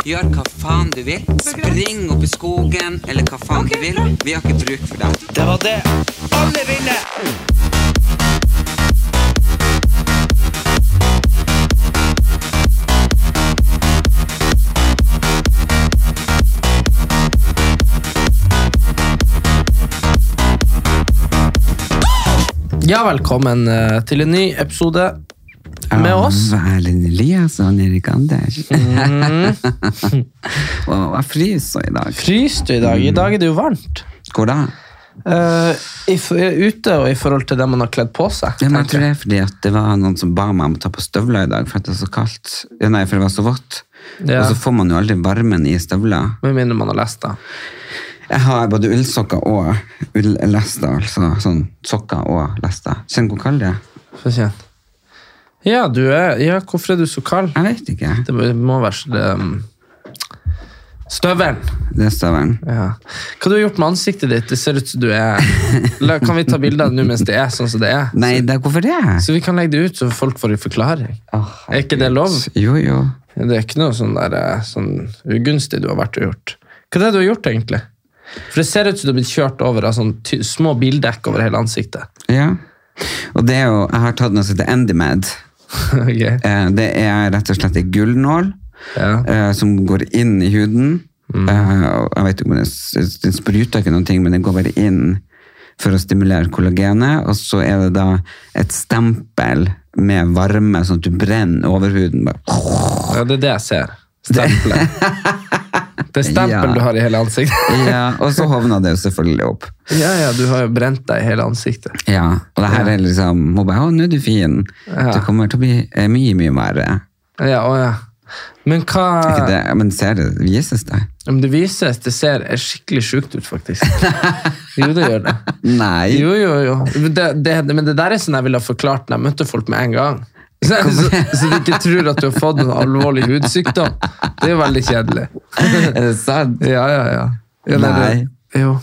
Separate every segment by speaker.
Speaker 1: Gjør hva faen du vil. Spring opp i skogen, eller hva faen du vil. Vi har ikke bruk for deg. Det var det. Alle vinner!
Speaker 2: Ja, velkommen eh, til en ny episode med oss.
Speaker 1: Erlend Eliasson, Erik Anders.
Speaker 2: Mm.
Speaker 1: Wow, jeg fryser i dag.
Speaker 2: Fryser du i dag? I dag er det jo varmt.
Speaker 1: Hvor da?
Speaker 2: Eh, i, for- ute og i forhold til det man har kledd på seg.
Speaker 1: Ja, men jeg
Speaker 2: tenker
Speaker 1: tror
Speaker 2: jeg.
Speaker 1: det er fordi at det var noen som ba meg om å ta på støvler i dag, for at det var så kaldt. Ja, Nei, for det var så vått.
Speaker 2: Ja.
Speaker 1: Og så får man jo aldri varmen i støvler.
Speaker 2: Med mindre man har lest det.
Speaker 1: Jeg har både ullsokker og ullester, altså sånn sokker og lester. Kjenn hvor kald det er.
Speaker 2: Få kjenne. Ja, du er, ja, hvorfor er du så kald?
Speaker 1: Jeg vet ikke.
Speaker 2: Det må- må være så det, um, Støvelen.
Speaker 1: Det er støvelen.
Speaker 2: Ja. Hva du har gjort med ansiktet ditt? Det ser ut som du er La, Kan vi ta bilde av det nå mens det er sånn som det er?
Speaker 1: Nei, det, hvorfor det?
Speaker 2: Så vi kan legge det ut, så folk får en forklaring.
Speaker 1: Åh,
Speaker 2: Er ikke det lov?
Speaker 1: Jo, jo.
Speaker 2: Det er ikke noe sånn, der, eh, sånn ugunstig du har vært og gjort. Hva er det du har gjort, egentlig? For det ser ut som du har blitt kjørt over av sånn ty små bildekk over hele ansiktet.
Speaker 1: Ja. Og det er jo, jeg har tatt noe som heter Endymed.
Speaker 2: Ok.
Speaker 1: Eh, Det er rett og slett en gullnål
Speaker 2: Ja.
Speaker 1: eh, som går inn i huden.
Speaker 2: Mm.
Speaker 1: Eh, og Jeg vet ikke om den, s- den spruter ikke noen ting, men den går bare inn for å stimulere kollagenet. Og så er det da et stempel med varme, sånn at du brenner over huden. Bare.
Speaker 2: ja, det er det jeg ser. Stempelet. Det er stempel
Speaker 1: Ja.
Speaker 2: du har i hele ansiktet.
Speaker 1: Ja, og så hovner det jo selvfølgelig opp.
Speaker 2: Ja, ja, du har jo brent deg i hele ansiktet.
Speaker 1: Ja, og det her er liksom, hun bare, å, nå er du fin.
Speaker 2: Ja.
Speaker 1: Det kommer til å bli eh, mye, mye verre.
Speaker 2: Ja, å ja. Men
Speaker 1: Ikke
Speaker 2: hva
Speaker 1: det, men ser det, vises det?
Speaker 2: Om det vises, det ser skikkelig sjukt ut, faktisk. Jo, det gjør det.
Speaker 1: Nei.
Speaker 2: Jo, jo, jo. Men det, det, men det der er sånn jeg ville ha forklart når jeg møtte folk med en gang. Så, så, så de ikke tror at du har fått en alvorlig hudsykdom. Det er jo veldig kjedelig.
Speaker 1: Er det sant?
Speaker 2: Ja, ja, ja. ja det er det. Jo.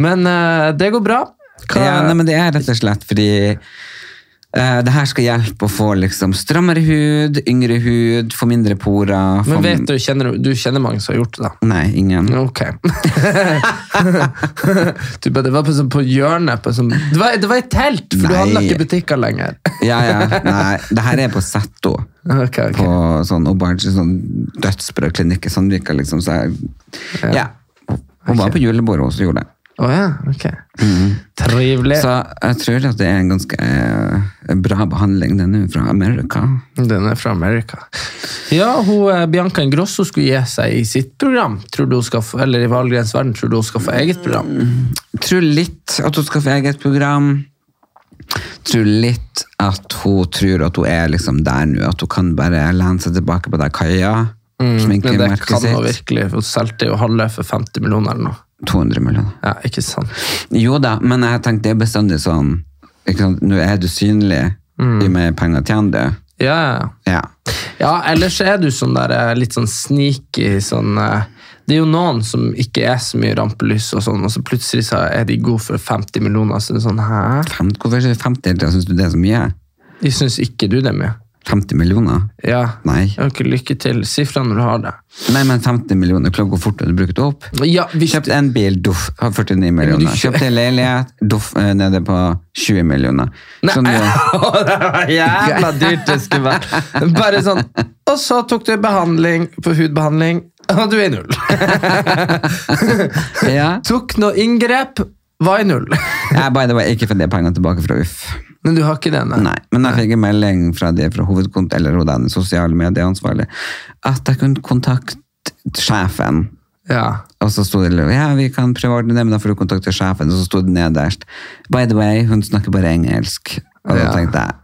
Speaker 2: Men eh, det går bra. Hva-
Speaker 1: Ja, nei, men det er rett og slett fordi eh, det her skal hjelpe å få liksom strammere hud, yngre hud, få mindre porer. Få
Speaker 2: men vet du, kjenner, du- du kjenner mange som har gjort det, da?
Speaker 1: Nei, ingen.
Speaker 2: Ok. du bare, det var på, sånn- på hjørnet. På sånn, det, var, det var et telt, for du
Speaker 1: Nei.
Speaker 2: handla ikke i butikker lenger.
Speaker 1: Ja, ja, nei. Det her er på Setto.
Speaker 2: Ok, ok.
Speaker 1: På sånn Obarge, sånn dødsbrød klinikk i Sandvika, liksom. Så jeg, ja. Hun var på julebordet også, gjorde det.
Speaker 2: Å ja, ok.
Speaker 1: Mm.
Speaker 2: Trivelig.
Speaker 1: Så jeg tror at det er en ganske eh, bra behandling, den er jo fra Amerika.
Speaker 2: Den er fra Amerika. Ja, hun, eh, Bianca Ingrosso skulle gi seg i sitt program. Tror du hun skal få, eller i Valgrens verden, tror du hun skal få eget program?
Speaker 1: tror litt at hun skal få eget program. Tror litt at hun tror at hun er liksom der nå, at hun kan bare lene seg tilbake på den kaia.
Speaker 2: Mm, Men det
Speaker 1: Sminkemerket
Speaker 2: kan hun
Speaker 1: sitt.
Speaker 2: virkelig. Hun solgte jo halve for 50 millioner eller noe.
Speaker 1: 200 millioner.
Speaker 2: Ja, ikke sant?
Speaker 1: Jo da, men jeg tenkte det er bestandig sånn ikke sant? Nå er du synlig,
Speaker 2: Mm.
Speaker 1: jo mer penger tjener du.
Speaker 2: Ja, ja.
Speaker 1: Ja.
Speaker 2: Ja, ellers er du sånn der eh, litt sånn sneaky sånn eh, Det er jo noen som ikke er så mye rampelys og sånn, og så plutselig så er de gode for 50 millioner, så det er sånn hæ?
Speaker 1: Fem, hvorfor er det 50 da? Syns du det er så mye?
Speaker 2: De syns ikke du det er mye.
Speaker 1: 50 millioner?
Speaker 2: Ja.
Speaker 1: Nei.
Speaker 2: Jeg har ikke lykke til. Si fra når du har det.
Speaker 1: Nei, men 50 millioner, klokk hvor fort har du brukt det opp?
Speaker 2: Ja, vi
Speaker 1: Kjøpt en bil, doff, har 49
Speaker 2: Ja, men
Speaker 1: millioner.
Speaker 2: du kjø-
Speaker 1: Kjøpt en leilighet, doff, eh, nede på 20 millioner. Sånn du-
Speaker 2: det var jævla dyrt det skulle være. Bare sånn. Og så tok du behandling på hudbehandling, og du er i null.
Speaker 1: ja.
Speaker 2: tok noe inngrep, var i null.
Speaker 1: Jeg by the way, ikke for det pengene tilbake fra UFF.
Speaker 2: Men du har ikke det,
Speaker 1: Nei, men jeg fikk en melding fra de fra hovedkont, eller hun den sosiale medieansvarlig, at jeg kunne kontakte sjefen.
Speaker 2: Ja.
Speaker 1: Og så sto det, ja, vi kan prøveordne det, men da får du kontakte sjefen. Og så sto det nederst, by the way, hun snakker bare engelsk. Og da
Speaker 2: Ja.
Speaker 1: tenkte jeg,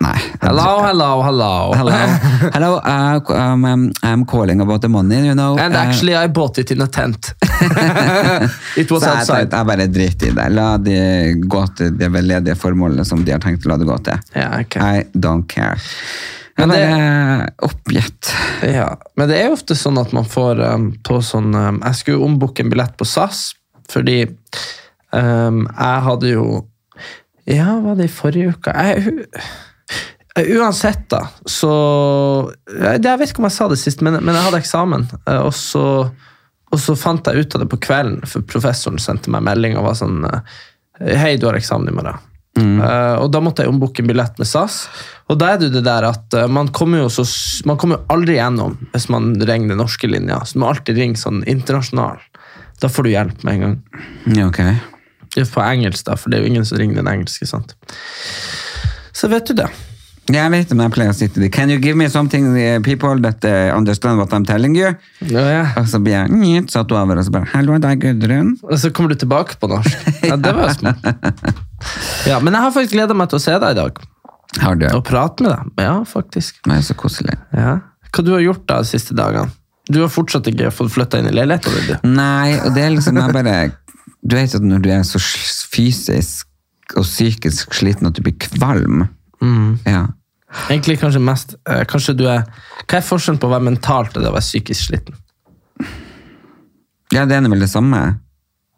Speaker 1: Nei.
Speaker 2: Hello, hello, hello.
Speaker 1: Hello, hello uh, um, um, I'm calling about the money, you know.
Speaker 2: And
Speaker 1: Uh,
Speaker 2: actually, I bought it in a tent. it was
Speaker 1: så jeg,
Speaker 2: outside.
Speaker 1: tenkte, jeg bare driter i det. La de gå til det veldedige formålet som de har tenkt å la det gå til.
Speaker 2: Ja, ok.
Speaker 1: I don't care. Jeg
Speaker 2: Men det-
Speaker 1: bare oppgitt.
Speaker 2: Ja, men det er jo ofte sånn at man får um, på sånn um, Jeg skulle ombooke en billett på SAS, fordi um, jeg hadde jo Ja, var det i forrige uke? Jeg, hu- eh, uansett, da, så Jeg, jeg vet ikke om jeg sa det sist, men, men jeg hadde eksamen, eh, og så og så fant jeg ut av det på kvelden, for professoren sendte meg melding og var sånn eh, Hei, du har eksamen i morgen. Eh, og da måtte jeg ombooke en billett med SAS. Og da er det jo det der at eh, man kommer jo, så, s- man kommer jo aldri gjennom hvis man ringer den norske linja. Så du må alltid ringe sånn internasjonal. Da får du hjelp med en gang.
Speaker 1: Ja, ok.
Speaker 2: Det er på engelsk, da, for det er jo ingen som ringer den engelske. sant? Så vet du det.
Speaker 1: Jeg vet om jeg pleier å sitte der. Can you give me something, uh, people, that uh, understand what I'm telling you? Og så blir jeg nytt, satt over, og så bare, hello, det er Gudrun.
Speaker 2: Og så kommer du tilbake på norsk. Ja, det var jo smart. Ja, men jeg har faktisk gleda meg til å se deg i dag.
Speaker 1: Har du?
Speaker 2: Og prate med deg. Ja, faktisk.
Speaker 1: Det er så koselig.
Speaker 2: Ja. Hva du har gjort da de siste dagene? Du har fortsatt ikke fått flytta inn i leiligheten din. du.
Speaker 1: Nei, og det er liksom jeg bare Du vet at når du er så s- fysisk og psykisk sliten at du blir kvalm ja.
Speaker 2: Egentlig kanskje mest eh, Kanskje du er Hva er forskjellen på å være mentalt og det å være psykisk sliten?
Speaker 1: ja, det er vel det samme.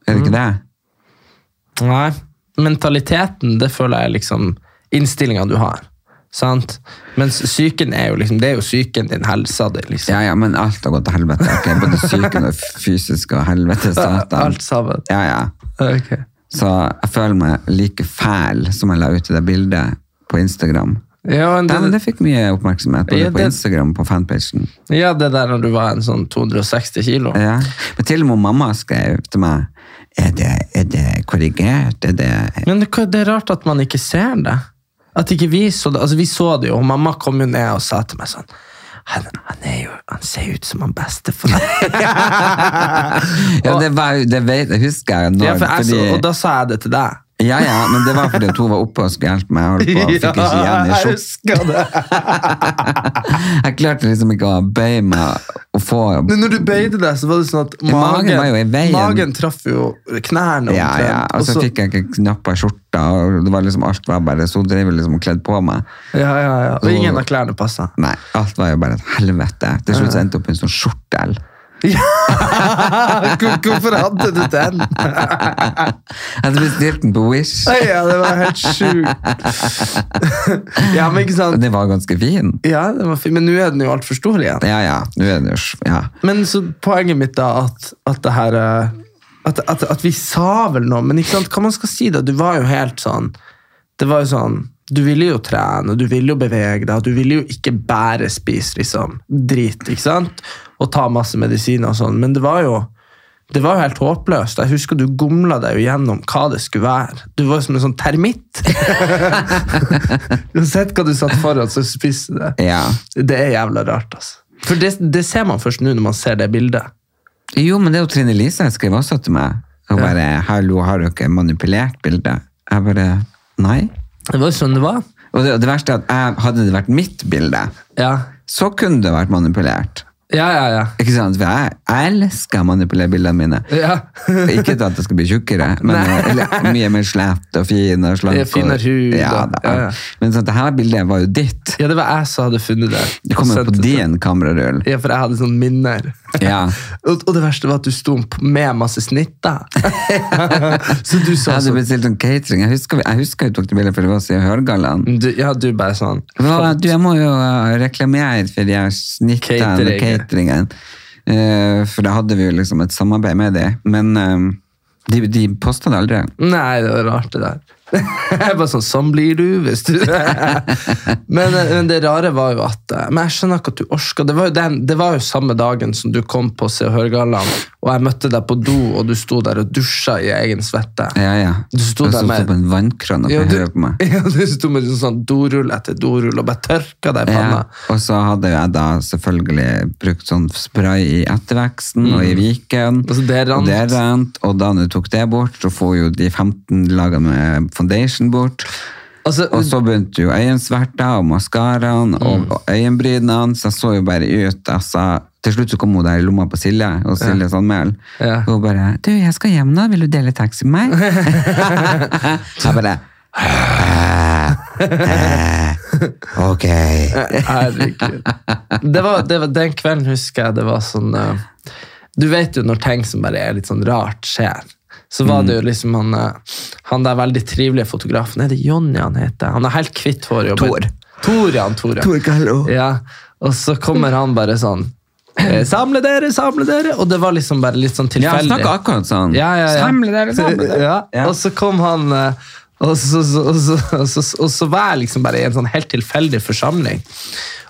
Speaker 1: Er det
Speaker 2: Mm.
Speaker 1: ikke det?
Speaker 2: Nei. Mentaliteten, det føler jeg er liksom innstillinga du har. Sant? Mens psyken er jo liksom Det er jo psyken din, helsa di, liksom.
Speaker 1: Ja, ja, men alt har gått til helvete. ok? Både psyken og fysisk og helvete. Satan.
Speaker 2: Alt sammen.
Speaker 1: Ja, ja.
Speaker 2: Ok.
Speaker 1: Så jeg føler meg like fæl som jeg la ut i det bildet på Instagram.
Speaker 2: Ja, men
Speaker 1: Ja, men
Speaker 2: det,
Speaker 1: det fikk mye oppmerksomhet, både
Speaker 2: Ja,
Speaker 1: på
Speaker 2: det-
Speaker 1: Instagram og på fanpagen.
Speaker 2: ja, det der når du var en sånn 260 kilo.
Speaker 1: Ja. Men til og med mamma skrev til meg Er det, er det korrigert? Er det
Speaker 2: Men det, det er rart at man ikke ser det. At ikke vi så det. Altså, vi så det jo, og mamma kom jo ned og sa til meg sånn han, han, er jo, han ser ut som han bestefar.
Speaker 1: Ja, det, var, jo- det, vet, det husker jeg når,
Speaker 2: ja, for jeg, så-
Speaker 1: fordi,
Speaker 2: Og da sa jeg det til deg.
Speaker 1: ja, ja, men det var fordi at hun var oppe og skulle hjelpe meg. Jeg holdt på, og fikk ikke igjen i
Speaker 2: jeg
Speaker 1: skjort.
Speaker 2: husker det.
Speaker 1: Jeg klarte liksom ikke å bøye meg og få
Speaker 2: Men når du bøyde deg, så var det sånn at
Speaker 1: Magen
Speaker 2: magen,
Speaker 1: var jo i veien.
Speaker 2: magen traff jo knærne.
Speaker 1: ja, ja,
Speaker 2: omtrent,
Speaker 1: Og så fikk jeg ikke knappa skjorta, og det var liksom, alt var bare Så hun drev jo liksom og kledd på meg.
Speaker 2: ja, ja, ja. Og ingen av klærne passa.
Speaker 1: Nei, alt var jo bare et helvete. Til slutt så endte jeg opp i en sånn skjortel.
Speaker 2: Hvorfor hadde du den?
Speaker 1: Jeg hadde bestilt den på Wish,
Speaker 2: ja, det var helt sjukt. ja, men ikke sant?
Speaker 1: og den var ganske fin.
Speaker 2: Ja, den var fin, men nå er den jo altfor stor igjen.
Speaker 1: Ja, ja, nå er det jo s- ja.
Speaker 2: Men så poenget mitt da, at, at det her eh, at, at, at vi sa vel noe, men ikke sant, hva man skal si da? Du var jo helt sånn Det var jo sånn Du ville jo trene, og du ville jo bevege deg, og du ville jo ikke bare spise liksom drit, ikke sant? Og ta masse medisiner og sånn, men det var jo det var jo helt håpløst. Jeg husker du gomla deg jo gjennom hva det skulle være. Du var jo som en sånn termitt. Uansett hva du satt foran, så spiste du det.
Speaker 1: ja.
Speaker 2: Det er jævla rart, altså. For det, det ser man først nå når man ser det bildet.
Speaker 1: Jo, men det er jo Trine Lise jeg skrev også til meg. Hun bare 'Hallo, har dere manipulert bildet?' Jeg bare Nei.
Speaker 2: Det var jo sånn det var.
Speaker 1: Og det, det verste er at jeg, hadde det vært mitt bilde,
Speaker 2: Ja,
Speaker 1: så kunne det vært manipulert.
Speaker 2: ja, ja. ja.
Speaker 1: Ikke sant? For jeg, jeg elsker å manipulere bildene mine.
Speaker 2: Ja.
Speaker 1: Ikke til at jeg skal bli tjukkere, men eller, mye mer slett og fin og slank.
Speaker 2: Ja, finere
Speaker 1: og-
Speaker 2: hud,
Speaker 1: Ja,
Speaker 2: og-
Speaker 1: da.
Speaker 2: ja, ja.
Speaker 1: Men sånn, det her bildet var jo ditt.
Speaker 2: ja, det var jeg som hadde funnet det.
Speaker 1: Det kom jo
Speaker 2: Sendte
Speaker 1: på
Speaker 2: det.
Speaker 1: din kamerarull.
Speaker 2: Ja, for jeg hadde sånne minner.
Speaker 1: Ja.
Speaker 2: Og, og det verste var at du sto p- med masse snitter. så du
Speaker 1: Jeg
Speaker 2: sa
Speaker 1: hadde
Speaker 2: sånn
Speaker 1: bestilt sånn catering. Jeg husker, vi- jeg husker vi tok det bildet, for det var så i Hørgallaen.
Speaker 2: du, Ja, du bare sånn
Speaker 1: Hva, du, jeg må jo eh, reklamere for de her snittene og
Speaker 2: Catering.
Speaker 1: cateringen. Eh, for da hadde vi jo liksom et samarbeid med dem. Men eh, de, de posta det aldri.
Speaker 2: Nei, det var rart det der. Jeg bare sånn, sånn blir du hvis du men, men det rare var jo at eh, Men jeg skjønner ikke at du orka. Det, var jo den- det var jo samme dagen som du kom på Se og Hør-gallaen, og jeg møtte deg på do, og du sto der og dusja i egen svette.
Speaker 1: Ja, ja.
Speaker 2: Du sto
Speaker 1: Jeg
Speaker 2: der med-
Speaker 1: på en vannkran og
Speaker 2: Ja, du,
Speaker 1: hørte på meg.
Speaker 2: ja, du sto med sånn dorull etter dorull og bare tørka deg i
Speaker 1: Ja,
Speaker 2: panna.
Speaker 1: og så hadde jeg da selvfølgelig brukt sånn spray i etterveksten og i viken.
Speaker 2: Og så Mm. Altså, det rant.
Speaker 1: Og, det rant, og da du tok det bort, så får jo de 15 lagene med foundation bort.
Speaker 2: Altså,
Speaker 1: Og så begynte jo øyensverta og maskaraen og,
Speaker 2: Mm.
Speaker 1: og øyenbrynene, så jeg så jo bare ut. Altså, til slutt så kom hun der i lomma på Silje, og Silje Sandmæl.
Speaker 2: Ja.
Speaker 1: Og hun bare 'Du, jeg skal hjem nå. Vil du dele taxi med meg?' jeg bare Ok.
Speaker 2: Herregud. Det var, det var, den kvelden husker jeg det var sånn eh, Du vet jo når ting som bare er litt sånn rart, skjer. Så var
Speaker 1: Mm.
Speaker 2: det jo liksom han, eh, han der veldig trivelige fotografen Er det Jonny han heter? Han er helt kvitt hår. og bare-
Speaker 1: Tor.
Speaker 2: Tor, ja. han, Tor, ja.
Speaker 1: Tor Gallo.
Speaker 2: Ja, og så kommer han bare sånn eh, Samle dere, samle dere! Og det var liksom bare litt sånn
Speaker 1: Ja,
Speaker 2: tilfeldig.
Speaker 1: snakk akkurat sånn.
Speaker 2: Ja, ja, ja.
Speaker 1: Samle dere, samle dere.
Speaker 2: Ja.
Speaker 1: Ja.
Speaker 2: Og så kom han eh, og så, så, og, så, og, så, og så var jeg liksom bare i en sånn helt tilfeldig forsamling.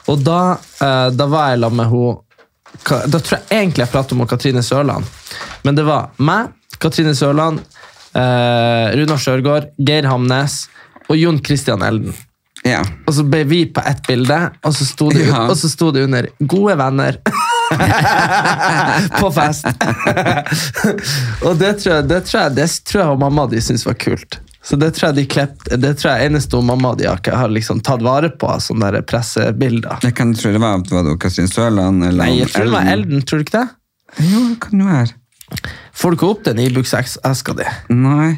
Speaker 2: Og da, eh, da var jeg sammen med hun Ka- Da tror jeg egentlig jeg pratet om hun Katrine Sørland. Men det var meg, Katrine Sørland, eh, Runar Sjørgaard, Geir Hamnes og Jon Christian Elden.
Speaker 1: Ja.
Speaker 2: Og så ble vi på ett bilde, og så sto det,
Speaker 1: Ja.
Speaker 2: og så sto det under 'Gode venner'. på fest. og det tror, jeg, det, tror jeg, det tror jeg og mamma de syntes var kult. Så det tror jeg de klept, det tror jeg eneste hun mamma og de har, har liksom tatt vare på. Sånne der pressebilder.
Speaker 1: Jeg kan tro det var, var det Katrin Sørland eller
Speaker 2: Nei, jeg tror det var
Speaker 1: Elden.
Speaker 2: Elden, tror du ikke det?
Speaker 1: Jo, det kan jo være.
Speaker 2: Får du ikke opp den Ibux-eska di?
Speaker 1: Nei.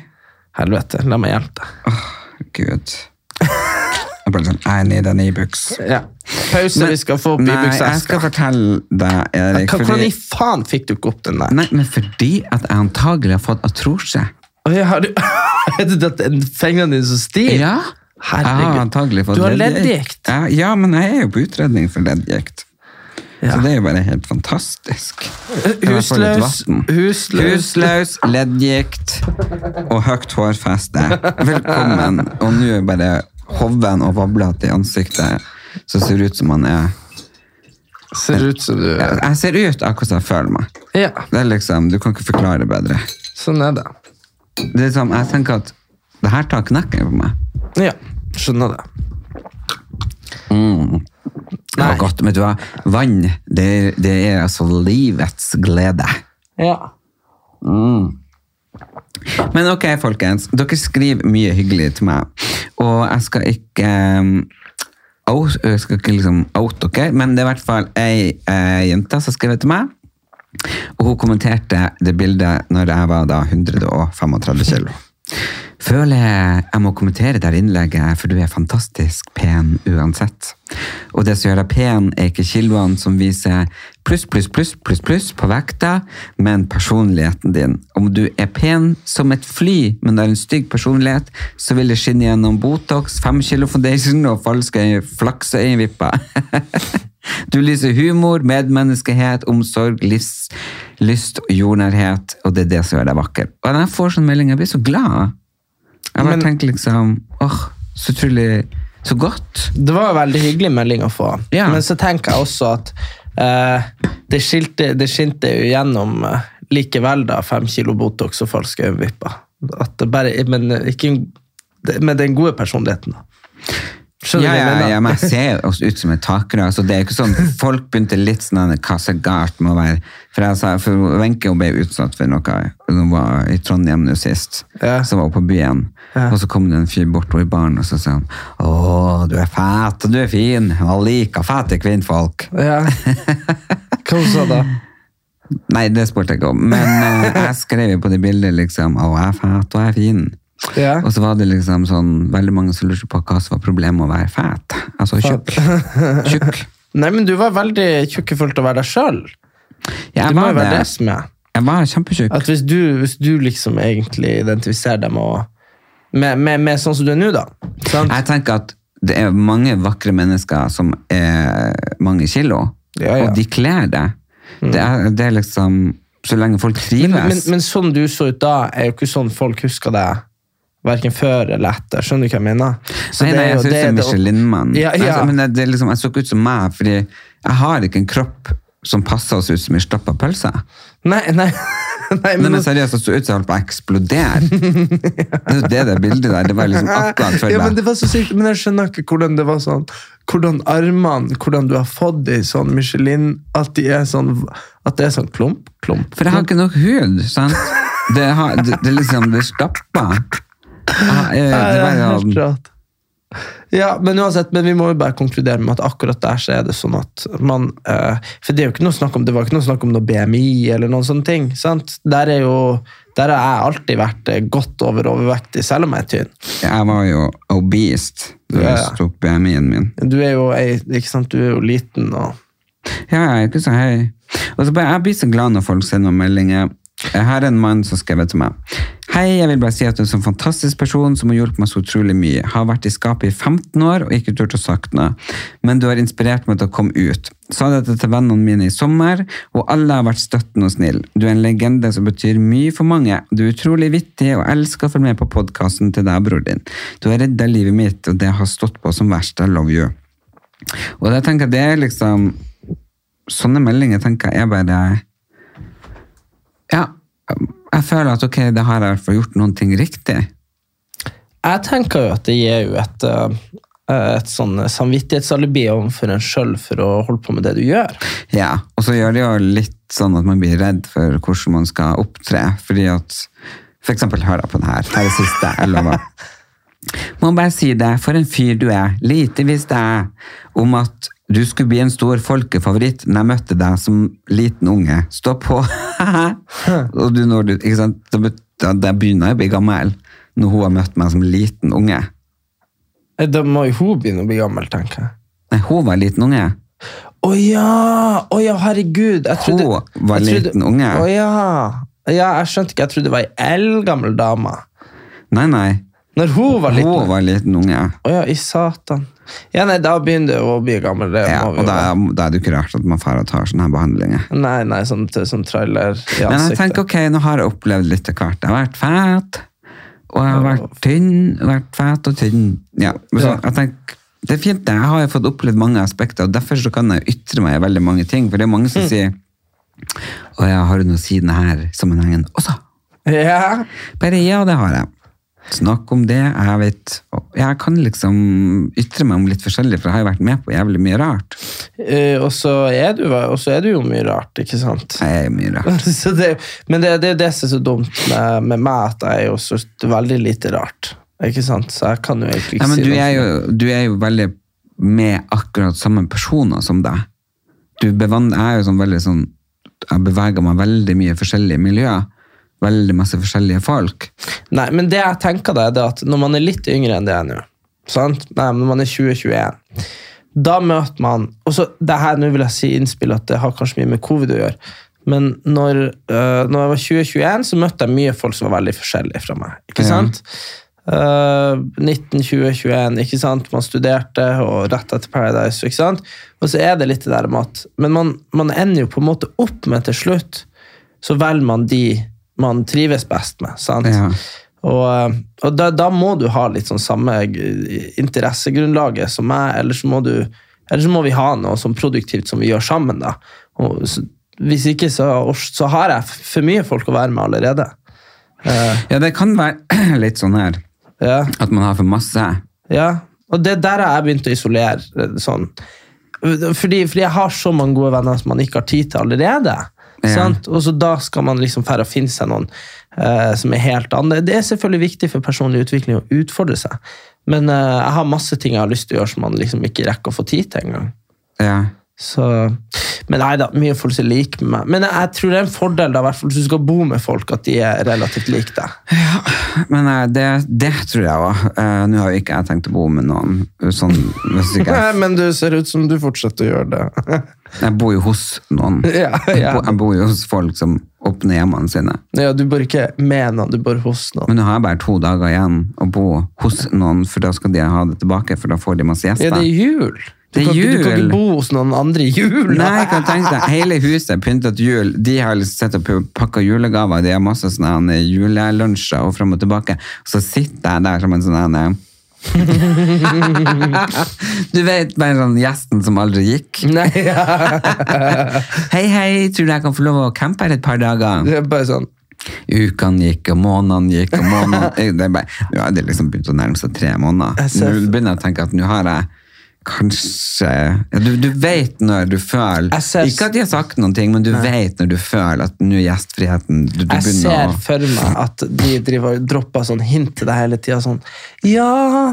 Speaker 2: Helvete, la meg hjelpe deg.
Speaker 1: Gud. Jeg bare sånn, I need an e-books.
Speaker 2: Ja. Pause, vi skal få opp
Speaker 1: Nei, jeg skal
Speaker 2: Ibux-eska.
Speaker 1: fortelle deg, Erik.
Speaker 2: Hvordan i
Speaker 1: Fordi,
Speaker 2: faen fikk du ikke opp den der?
Speaker 1: nei, men fordi at jeg antagelig har fått atrosje.
Speaker 2: Oi, har du, er det at fingrene dine så stive?
Speaker 1: Ja. Jeg har
Speaker 2: Herregud.
Speaker 1: antagelig fått
Speaker 2: du har
Speaker 1: leddgikt.
Speaker 2: leddgikt.
Speaker 1: Ja, ja, men jeg er jo på utredning for leddgikt.
Speaker 2: Ja.
Speaker 1: Så det er jo bare helt fantastisk. Kan jeg få litt
Speaker 2: Husløs,
Speaker 1: vatten?
Speaker 2: husløs.
Speaker 1: Husløs, leddgikt og høyt hårfeste. Velkommen. Og nå er bare hoven og vablete i ansiktet som ser ut som han er
Speaker 2: Ser ut som du
Speaker 1: Jeg jeg ser ut akkurat som jeg føler meg.
Speaker 2: Ja,
Speaker 1: Det er liksom, Du kan ikke forklare bedre.
Speaker 2: sånn er det.
Speaker 1: Det er liksom, Jeg tenker at det her tar knekken på meg.
Speaker 2: Ja, skjønner det.
Speaker 1: Det var Mm. godt, vet du hva? Vann, det, er- det er altså livets glede.
Speaker 2: Ja.
Speaker 1: Men ok, folkens. Dere skriver mye hyggelig til meg. Og jeg skal ikke um, out, jeg skal ikke liksom out dere, men det er i hvert fall ei eh, jente som skrev til meg. Og hun kommenterte det bildet når jeg var da 135 kilo. Føler jeg må kommentere det her innlegget, for du er fantastisk pen uansett. Og det som gjør deg pen, er ikke kiloene som viser pluss, pluss, pluss, pluss, pluss på vekta, men personligheten din. Om du er pen som et fly, men har en stygg personlighet, så vil det skinne gjennom Botox, 5 kilo foundation og falske øye- flakseøyenvipper. Du lyser humor, medmenneskehet, omsorg, livs, lyst og jordnærhet, og det er det som gjør deg vakker. Og når jeg får sånn melding, jeg blir så glad. Jeg bare
Speaker 2: Men-
Speaker 1: tenker liksom, åh, så utrolig, så godt.
Speaker 2: Det var en veldig hyggelig melding å få.
Speaker 1: Ja.
Speaker 2: Men så tenker jeg også at eh, det, skilte, det skinte jo gjennom eh, likevel da, fem kilo Botox og falske øyenvipper. At det bare, men, eh, ikke, det- men den gode personligheten, da. Skjønner du
Speaker 1: Ja,
Speaker 2: hva jeg
Speaker 1: ja,
Speaker 2: mener?
Speaker 1: ja, men jeg ser jo også ut som et takere, så det er jo ikke sånn, folk begynte litt sånn, hva så galt med å være, for jeg sa, for Venke hun ble jo utsatt for noe, hun var i Trondheim nå sist,
Speaker 2: Ja.
Speaker 1: så var hun på byen, og så kom det en fyr bort i baren, og så sa han, åh, du er fett, og du er fin, og liker fete kvinnfolk.
Speaker 2: Ja. Hva hun sa da?
Speaker 1: Nei, det spurte jeg ikke om. Men eh, jeg skrev jo på det bildet liksom Å, jeg er fæt og jeg er fin.
Speaker 2: Ja.
Speaker 1: Og så var det liksom sånn veldig mange som lurte på hva som var problemet med å være fæt. Altså tjukk. Tjukk.
Speaker 2: Nei, men du var veldig tjukkefull til å være deg sjøl.
Speaker 1: Jeg
Speaker 2: Det må
Speaker 1: var
Speaker 2: jo være
Speaker 1: det.
Speaker 2: det som er
Speaker 1: Jeg var kjempetjukk.
Speaker 2: At hvis du, hvis du liksom egentlig identifiserer deg med, å, med, med, med sånn som du er nå, da sant?
Speaker 1: Jeg tenker at det er mange vakre mennesker som er mange kilo,
Speaker 2: Ja, ja.
Speaker 1: og de kler det. Det, er, det er liksom Så lenge folk trives.
Speaker 2: Men, men sånn du så ut da, er jo ikke sånn folk husker deg. Verken før eller etter. Skjønner du hva jeg mener? Så
Speaker 1: nei,
Speaker 2: det
Speaker 1: nei,
Speaker 2: er
Speaker 1: jeg
Speaker 2: jo-
Speaker 1: ser ut
Speaker 2: det er
Speaker 1: som
Speaker 2: det-
Speaker 1: Michelin-mann.
Speaker 2: Ja, ja.
Speaker 1: Altså, men det, det er liksom, jeg så ikke ut som meg, fordi jeg har ikke en kropp som passer oss ut som en stappa pølse.
Speaker 2: Nei, nei, nei,
Speaker 1: Nei,
Speaker 2: men, altså,
Speaker 1: men seriøst, jeg så ut som jeg holdt på å eksplodere. Det er jo det der bildet der. Det var liksom akkurat for
Speaker 2: ja, men
Speaker 1: meg.
Speaker 2: det var så sykt, men jeg skjønner ikke hvordan det var sånn Hvordan armene, hvordan du har fått de sånn Michelin At de er sånn At det er sånn klump, klump
Speaker 1: For jeg har ikke nok hud, sant? Det, har, det, det er liksom, det stapper. Jeg har- eh, Det
Speaker 2: Ja,
Speaker 1: var
Speaker 2: ja, helt
Speaker 1: jo
Speaker 2: rart. Ja, men uansett, men vi må jo bare konkludere med at akkurat der så er det sånn at man eh, For det er jo ikke noe snakk om det var ikke noe snakk om noe BMI eller noen sånne ting. sant? Der er jo, der har jeg alltid vært eh, godt over overvektig, selv om jeg er tynn.
Speaker 1: Jeg var jo obese da
Speaker 2: Ja,
Speaker 1: jeg
Speaker 2: ja.
Speaker 1: sto opp BMI-en min.
Speaker 2: Du er jo, ei- ikke sant? Du er jo liten og
Speaker 1: Ja, jeg er ikke så høy. Og så bare, jeg blir så glad når folk sender meg meldinger. Her er en mann som skrev til meg. Hei, jeg vil bare si at du er en sånn fantastisk person som har hjulpet meg så utrolig mye. Har vært i skapet i 15 år og ikke turt å sagt noe. Men du har inspirert meg til å komme ut. Sa dette til vennene mine i sommer, og alle har vært støttende og snill. Du er en legende som betyr mye for mange. Du er utrolig vittig og elsker å følge med på podkasten til deg og bror din. Du har redda livet mitt, og det har stått på som verst. I love you. Og da tenker jeg det er liksom sånne meldinger tenker jeg er bare Ja, jeg føler at ok, det har jeg i hvert fall gjort noen ting riktig.
Speaker 2: Jeg tenker jo at det gir jo et, eh, et sånn samvittighetsalibi overfor en sjøl for å holde på med det du gjør.
Speaker 1: Ja, Og så gjør det jo litt sånn at man blir redd for hvordan man skal opptre. Fordi at For eksempel, hør da på det her. Her er siste. Jeg lover. Må bare si det, for en fyr du er. Lite visste jeg om at du skulle bli en stor folkefavoritt når jeg møtte deg som liten unge. Stå på! og du, når du, ikke sant? Da, bet- da, da begynner jeg å bli gammel, når hun har møtt meg som liten unge.
Speaker 2: Eh, Da må jo hun begynne å bli gammel, tenker jeg.
Speaker 1: Nei, hun var liten unge.
Speaker 2: Å ja! Å ja, herregud!
Speaker 1: Hun
Speaker 2: Jeg trodde,
Speaker 1: var
Speaker 2: jeg trodde-
Speaker 1: liten unge.
Speaker 2: Å ja. ja! Jeg skjønte ikke. Jeg trodde det var ei eldgammel dame.
Speaker 1: Nei, nei.
Speaker 2: Når hun var
Speaker 1: Hun
Speaker 2: liten.
Speaker 1: var liten unge.
Speaker 2: Å ja, i satan. Ja, nei, da begynner hun å bli gammel. Det
Speaker 1: Ja,
Speaker 2: må
Speaker 1: og
Speaker 2: vi jo-
Speaker 1: da, da er det jo ikke rart at man færre tar sånne her behandlinger.
Speaker 2: Nei, nei, sånn, sånn trailer i
Speaker 1: Men jeg
Speaker 2: ansiktet.
Speaker 1: tenker, ok, nå har jeg opplevd litt av hvert. Jeg har vært fett, og jeg har vært tynn, vært fett og tynn. Ja, men så
Speaker 2: Ja.
Speaker 1: jeg tenker, det er fint det. Jeg har jo fått opplevd mange aspekter, og derfor så kan jeg ytre meg i veldig mange ting, for det er mange
Speaker 2: Mm.
Speaker 1: som sier, og jeg har jo noe siden her sammenhengen også.
Speaker 2: Ja.
Speaker 1: Bare ja, det har jeg. Snakk om det, jeg vet. og Jeg kan liksom ytre meg om litt forskjellig, for jeg har jo vært med på jævlig mye rart.
Speaker 2: Eh, og så er du og så er du jo mye rart, ikke sant?
Speaker 1: Jeg er jo mye rart.
Speaker 2: Så det, men det, det er jo det som er så dumt med, med meg, at jeg er jo så veldig lite rart. Ikke sant? Så jeg kan jo egentlig ikke
Speaker 1: Ja, men
Speaker 2: si
Speaker 1: du
Speaker 2: noe.
Speaker 1: er, jo, du er jo veldig med akkurat samme personer som deg. Du bevan- jeg er jo sånn veldig sånn, jeg beveger meg veldig mye i forskjellige miljøer. Veldig masse forskjellige folk.
Speaker 2: Nei, men det jeg tenker da, er det at når man er litt yngre enn det er nå, sant? Nei, men når man er 20-21, da møter man, og så det her, nå vil jeg si innspill at det har kanskje mye med covid å gjøre, men når, øh, når jeg var 20-21, så møtte jeg mye folk som var veldig forskjellige fra meg, ikke
Speaker 1: Ja.
Speaker 2: sant? Øh, 19, 20, 21, ikke sant? Man studerte, og rett etter Paradise, ikke sant? Og så er det litt det der med at, men man, man ender jo på en måte opp med til slutt, så velger man de man trives best med, sant?
Speaker 1: Ja.
Speaker 2: Og, eh, og da, da må du ha litt sånn samme g- interessegrunnlaget som meg, eller så må, du, eller så må vi ha noe sånn produktivt som vi gjør sammen. Da. Og, så, hvis ikke, så, så har jeg f- for mye folk å være med allerede.
Speaker 1: Ja, det kan være litt sånn her,
Speaker 2: Ja,
Speaker 1: at man har for masse.
Speaker 2: ja. Og det der har jeg begynt å isolere. eh, sånn. Fordi, fordi jeg har så mange gode venner som man ikke har tid til allerede.
Speaker 1: Ja.
Speaker 2: Sant? Og så da skal man liksom færre finne seg noen eh, som er helt andre. Det er selvfølgelig viktig for personlig utvikling å utfordre seg, men eh, jeg har masse ting jeg har lyst til å gjøre som man liksom ikke rekker å få tid til engang.
Speaker 1: Ja.
Speaker 2: Så, men nei da, mye folk som er like med meg. Men jeg, jeg tror det er en fordel da, i hvert fall hvis du skal bo med folk, at de er relativt like deg.
Speaker 1: Men eh, det, det tror jeg også. Eh, Nå har jo ikke jeg tenkt å bo med noen. Sånn, hvis ikke jeg,
Speaker 2: men du ser ut som du fortsetter å gjøre det.
Speaker 1: jeg bor jo hos noen.
Speaker 2: Ja,
Speaker 1: Jeg,
Speaker 2: ja.
Speaker 1: bor, jeg bor jo hos folk som åpner hjemmene sine.
Speaker 2: ja, du bor ikke med noen, du bor hos noen.
Speaker 1: Men nå har jeg bare to dager igjen å bo hos noen, for da skal de ha det tilbake, for da får de masse gjester.
Speaker 2: Ja, det er jul. Du,
Speaker 1: Det er
Speaker 2: kan, ikke- du kan
Speaker 1: jul.
Speaker 2: ikke bo hos noen andre i jul.
Speaker 1: Nei, jeg kan tenke deg, hele huset er pyntet jul, de har liksom sett og pu- pakket julegaver, de har masse sånne her julelunsjer og frem og tilbake, og så sitter jeg der som en sånn her- Du vet, bare sånn gjesten som aldri gikk.
Speaker 2: Nei, ja.
Speaker 1: Hei, hei, tror du jeg kan få lov å campe her et par dager?
Speaker 2: Det er bare sånn.
Speaker 1: Ukene gikk, og månedene gikk, og månedene Det er bare, nå har det liksom begynt å nærme seg tre måneder.
Speaker 2: Jeg ser-
Speaker 1: Nå begynner jeg å tenke at nå har jeg Kanskje ja, du, du vet når du føler
Speaker 2: Jeg ser-
Speaker 1: Ikke at de har sagt noen ting, men du vet når du føler at nå er gjestfriheten du, du
Speaker 2: Jeg
Speaker 1: begynner
Speaker 2: ser
Speaker 1: å
Speaker 2: for meg at de driver og dropper sånn hint til deg hele tida. Sånn Ja,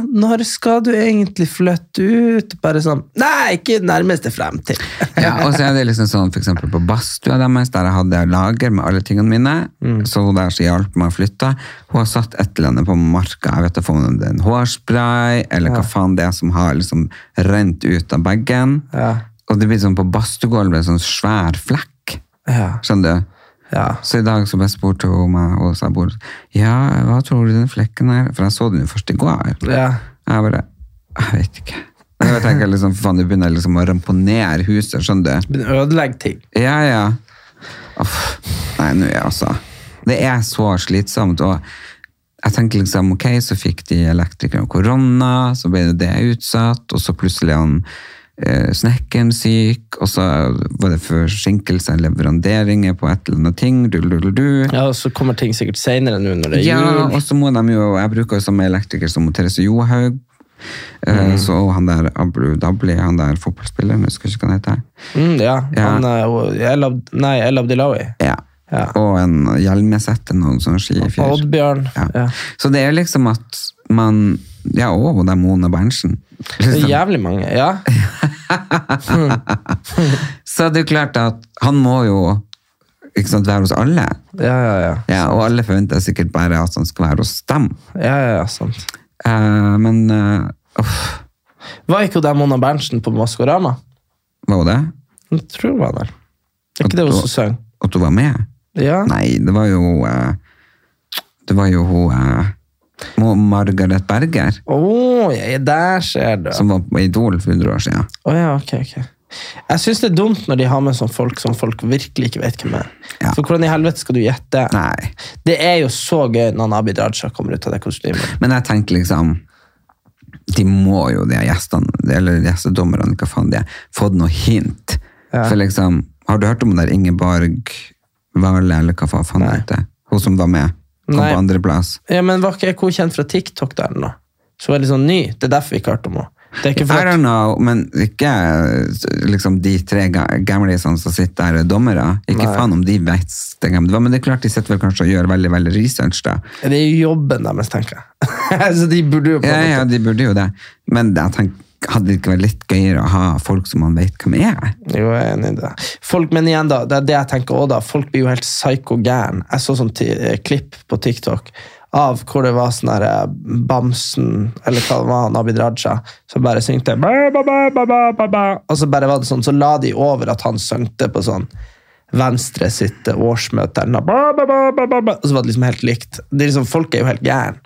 Speaker 2: når skal du egentlig flytte ut? Bare sånn Nei, ikke i nærmeste fremtid.
Speaker 1: ja, Og så er det liksom sånn for eksempel på badstua deres, der jeg hadde lager med alle tingene mine.
Speaker 2: Mm.
Speaker 1: Så hun der som hjalp meg å flytte, hun har satt et eller annet på marka. Jeg vet ikke om det er en hårspray, eller hva faen det er som har liksom rent ut av bagen.
Speaker 2: Ja.
Speaker 1: Og det blir sånn på badstuegulvet, en sånn svær flekk.
Speaker 2: Ja.
Speaker 1: Skjønner du?
Speaker 2: ja.
Speaker 1: Så i dag så bare spurte hun meg, og sa bor, ja, hva tror du den flekken er? For jeg så den jo først i går.
Speaker 2: Ja.
Speaker 1: Jeg bare, jeg vet ikke. Jeg tenker liksom, faen, du begynner liksom å ramponere huset, skjønner du?
Speaker 2: Begynner å ødelegge ting.
Speaker 1: Ja, ja. Uff. Nei, nå er jeg altså Det er så slitsomt. Og jeg tenker liksom, ok, så fikk de elektrikeren korona, så ble det utsatt, og så plutselig er han eh, snekkeren syk, og så var det forsinkelse av leveranderinger på et eller annet ting. Du, du, du, du.
Speaker 2: Ja, og så kommer ting sikkert seinere nå når det er
Speaker 1: Ja,
Speaker 2: jul.
Speaker 1: og så må de jo Jeg bruker jo samme elektriker som Therese Johaug.
Speaker 2: Mm.
Speaker 1: eh, Så han der Ablu Dabli, han der fotballspilleren, jeg husker ikke hva han heter.
Speaker 2: Mm, ja.
Speaker 1: Ja.
Speaker 2: Han, eh, og El Ab- nei, El Abdilawi.
Speaker 1: Ja.
Speaker 2: Ja.
Speaker 1: Og en hjelmesett eller noen sånn skifyr.
Speaker 2: Oddbjørn.
Speaker 1: Ja.
Speaker 2: Ja.
Speaker 1: Så det er liksom at man Ja, og hun der Mona Berntsen.
Speaker 2: Det er
Speaker 1: Liksom.
Speaker 2: jævlig mange. Ja.
Speaker 1: Så det er jo klart at han må jo ikke sant, være hos alle.
Speaker 2: Ja, ja, ja.
Speaker 1: Ja, og alle forventer sikkert bare at han skal være hos dem.
Speaker 2: ja, ja, ja sant.
Speaker 1: Eh, men eh, uff,
Speaker 2: Var ikke hun der Mona Berntsen på Maskorama?
Speaker 1: var hun det?
Speaker 2: Jeg tror hun var der. Er ikke det hun som sang?
Speaker 1: At hun var med?
Speaker 2: Ja.
Speaker 1: Nei, det var jo eh, Det var jo hun eh, Mo- Margaret Berger,
Speaker 2: Å, ja, der ser du. Å
Speaker 1: som var på Idol for 100 år siden.
Speaker 2: ja, ok, ok. Jeg syns det er dumt når de har med sånne folk som folk virkelig ikke vet hvem er.
Speaker 1: Ja.
Speaker 2: For hvordan i helvete skal du gjette?
Speaker 1: Nei.
Speaker 2: Det er jo så gøy når Abid Raja kommer ut av det kostymet.
Speaker 1: Men jeg tenker liksom De må jo, de her gjestene, eller gjestedommerne, hva faen de er, fått noe hint.
Speaker 2: Ja.
Speaker 1: For liksom, har du hørt om den der Ingeborg Vale, eller hva faen
Speaker 2: Nei.
Speaker 1: hun heter? Hun som var med, kom
Speaker 2: Nei.
Speaker 1: på andreplass.
Speaker 2: Ja, men Var ikke hun kjent fra TikTok der eller noe? Så hun er litt sånn ny. Det er derfor vi ikke har hørt om henne. Det er ikke
Speaker 1: I
Speaker 2: for
Speaker 1: don't
Speaker 2: at,
Speaker 1: know, men ikke eh, liksom de tre ga- gamlisene som sitter der, dommere. Ikke
Speaker 2: Nei.
Speaker 1: faen om de vet det, hvem det var, men det er klart de sitter vel kanskje og gjør veldig, veldig research da.
Speaker 2: det er jo jobben deres, tenker jeg. Så de burde jo på
Speaker 1: Ja,
Speaker 2: en
Speaker 1: ja,
Speaker 2: måte
Speaker 1: de burde jo det. Men jeg tenker, hadde det ikke vært litt gøyere å ha folk som man vet hvem er?
Speaker 2: Jo, jeg er enig i det. Folk, men igjen da, det er det jeg tenker også da, folk blir jo helt psyko-gæren. Jeg så sånn ti- eh, klipp på TikTok av hvor det var sånn der eh, Bamsen, eller hva det var, han, Abid Raja, som bare syngte ba, ba, ba, ba, ba, ba, ba. Og så bare var det sånn, så la de over at han syngte på sånn Venstre sitt eh, årsmøte eller noe. Ba, ba, ba, ba, ba, ba. Og så var det liksom helt likt. Det er liksom, folk er jo helt gæren.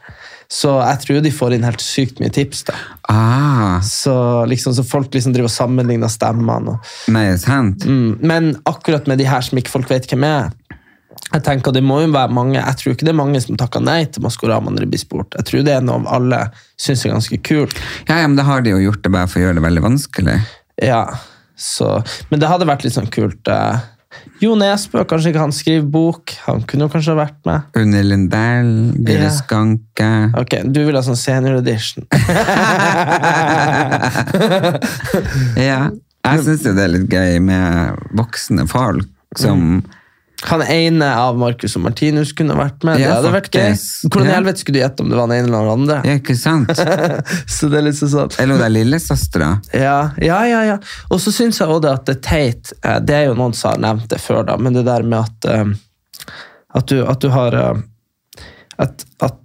Speaker 2: Så jeg tror de får inn helt sykt mye tips da.
Speaker 1: Ah,
Speaker 2: Så, liksom, så folk liksom driver og sammenligner stemmene og
Speaker 1: nei, sant?
Speaker 2: Mm, Men akkurat med de her som ikke folk vet hvem er jeg tenker det må jo være mange, jeg tror ikke det er mange som takker nei til Maskorama når det blir spurt. Jeg tror det er noe av alle syns er ganske kult.
Speaker 1: Ja, ja, men da har de jo gjort det bare for å gjøre det veldig vanskelig.
Speaker 2: Ja, så, Men det hadde vært litt sånn kult. eh, Jo Nesbø, kanskje ikke han skriver bok? Han kunne jo kanskje ha vært med?
Speaker 1: Unni Lindell, Gure
Speaker 2: Ja.
Speaker 1: Skanke.
Speaker 2: Ok, Du vil ha sånn senior edition.
Speaker 1: Ja, jeg
Speaker 2: Mm.
Speaker 1: synes jo det er litt gøy med voksne folk som...
Speaker 2: Mm. Han ene av Marcus og Martinus kunne ha vært med.
Speaker 1: Ja,
Speaker 2: det hadde vært gøy.
Speaker 1: faktisk.
Speaker 2: Hvordan i
Speaker 1: Ja.
Speaker 2: helvete skulle du gjette om det var han ene eller han andre?
Speaker 1: Ja, ikke sant?
Speaker 2: Så det er litt sånn sånn.
Speaker 1: Eller hun der lillesøstera.
Speaker 2: Ja, ja, ja. ja. Og så syns jeg også det at det er teit eh, Det er jo noen som har nevnt det før, da, men det der med at eh, At du, at du har eh, at, at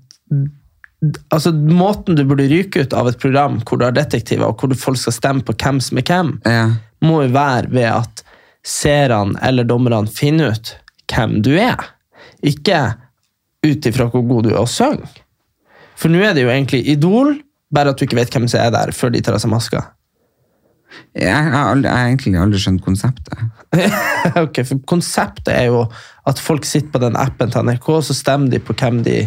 Speaker 2: Altså, måten du burde ryke ut av et program hvor du har detektiver, og hvor du folk skal stemme på hvem som er hvem,
Speaker 1: Ja.
Speaker 2: må jo være ved at seerne eller dommerne finner ut hvem du er. Ikke ut ifra hvor god du er å synge. For nå er det jo egentlig Idol, bare at du ikke vet hvem som er der, før de tar av seg maska.
Speaker 1: Jeg har, aldri, jeg har egentlig aldri skjønt konseptet.
Speaker 2: ok, for konseptet er jo at folk sitter på den appen til NRK, og så stemmer de på hvem de,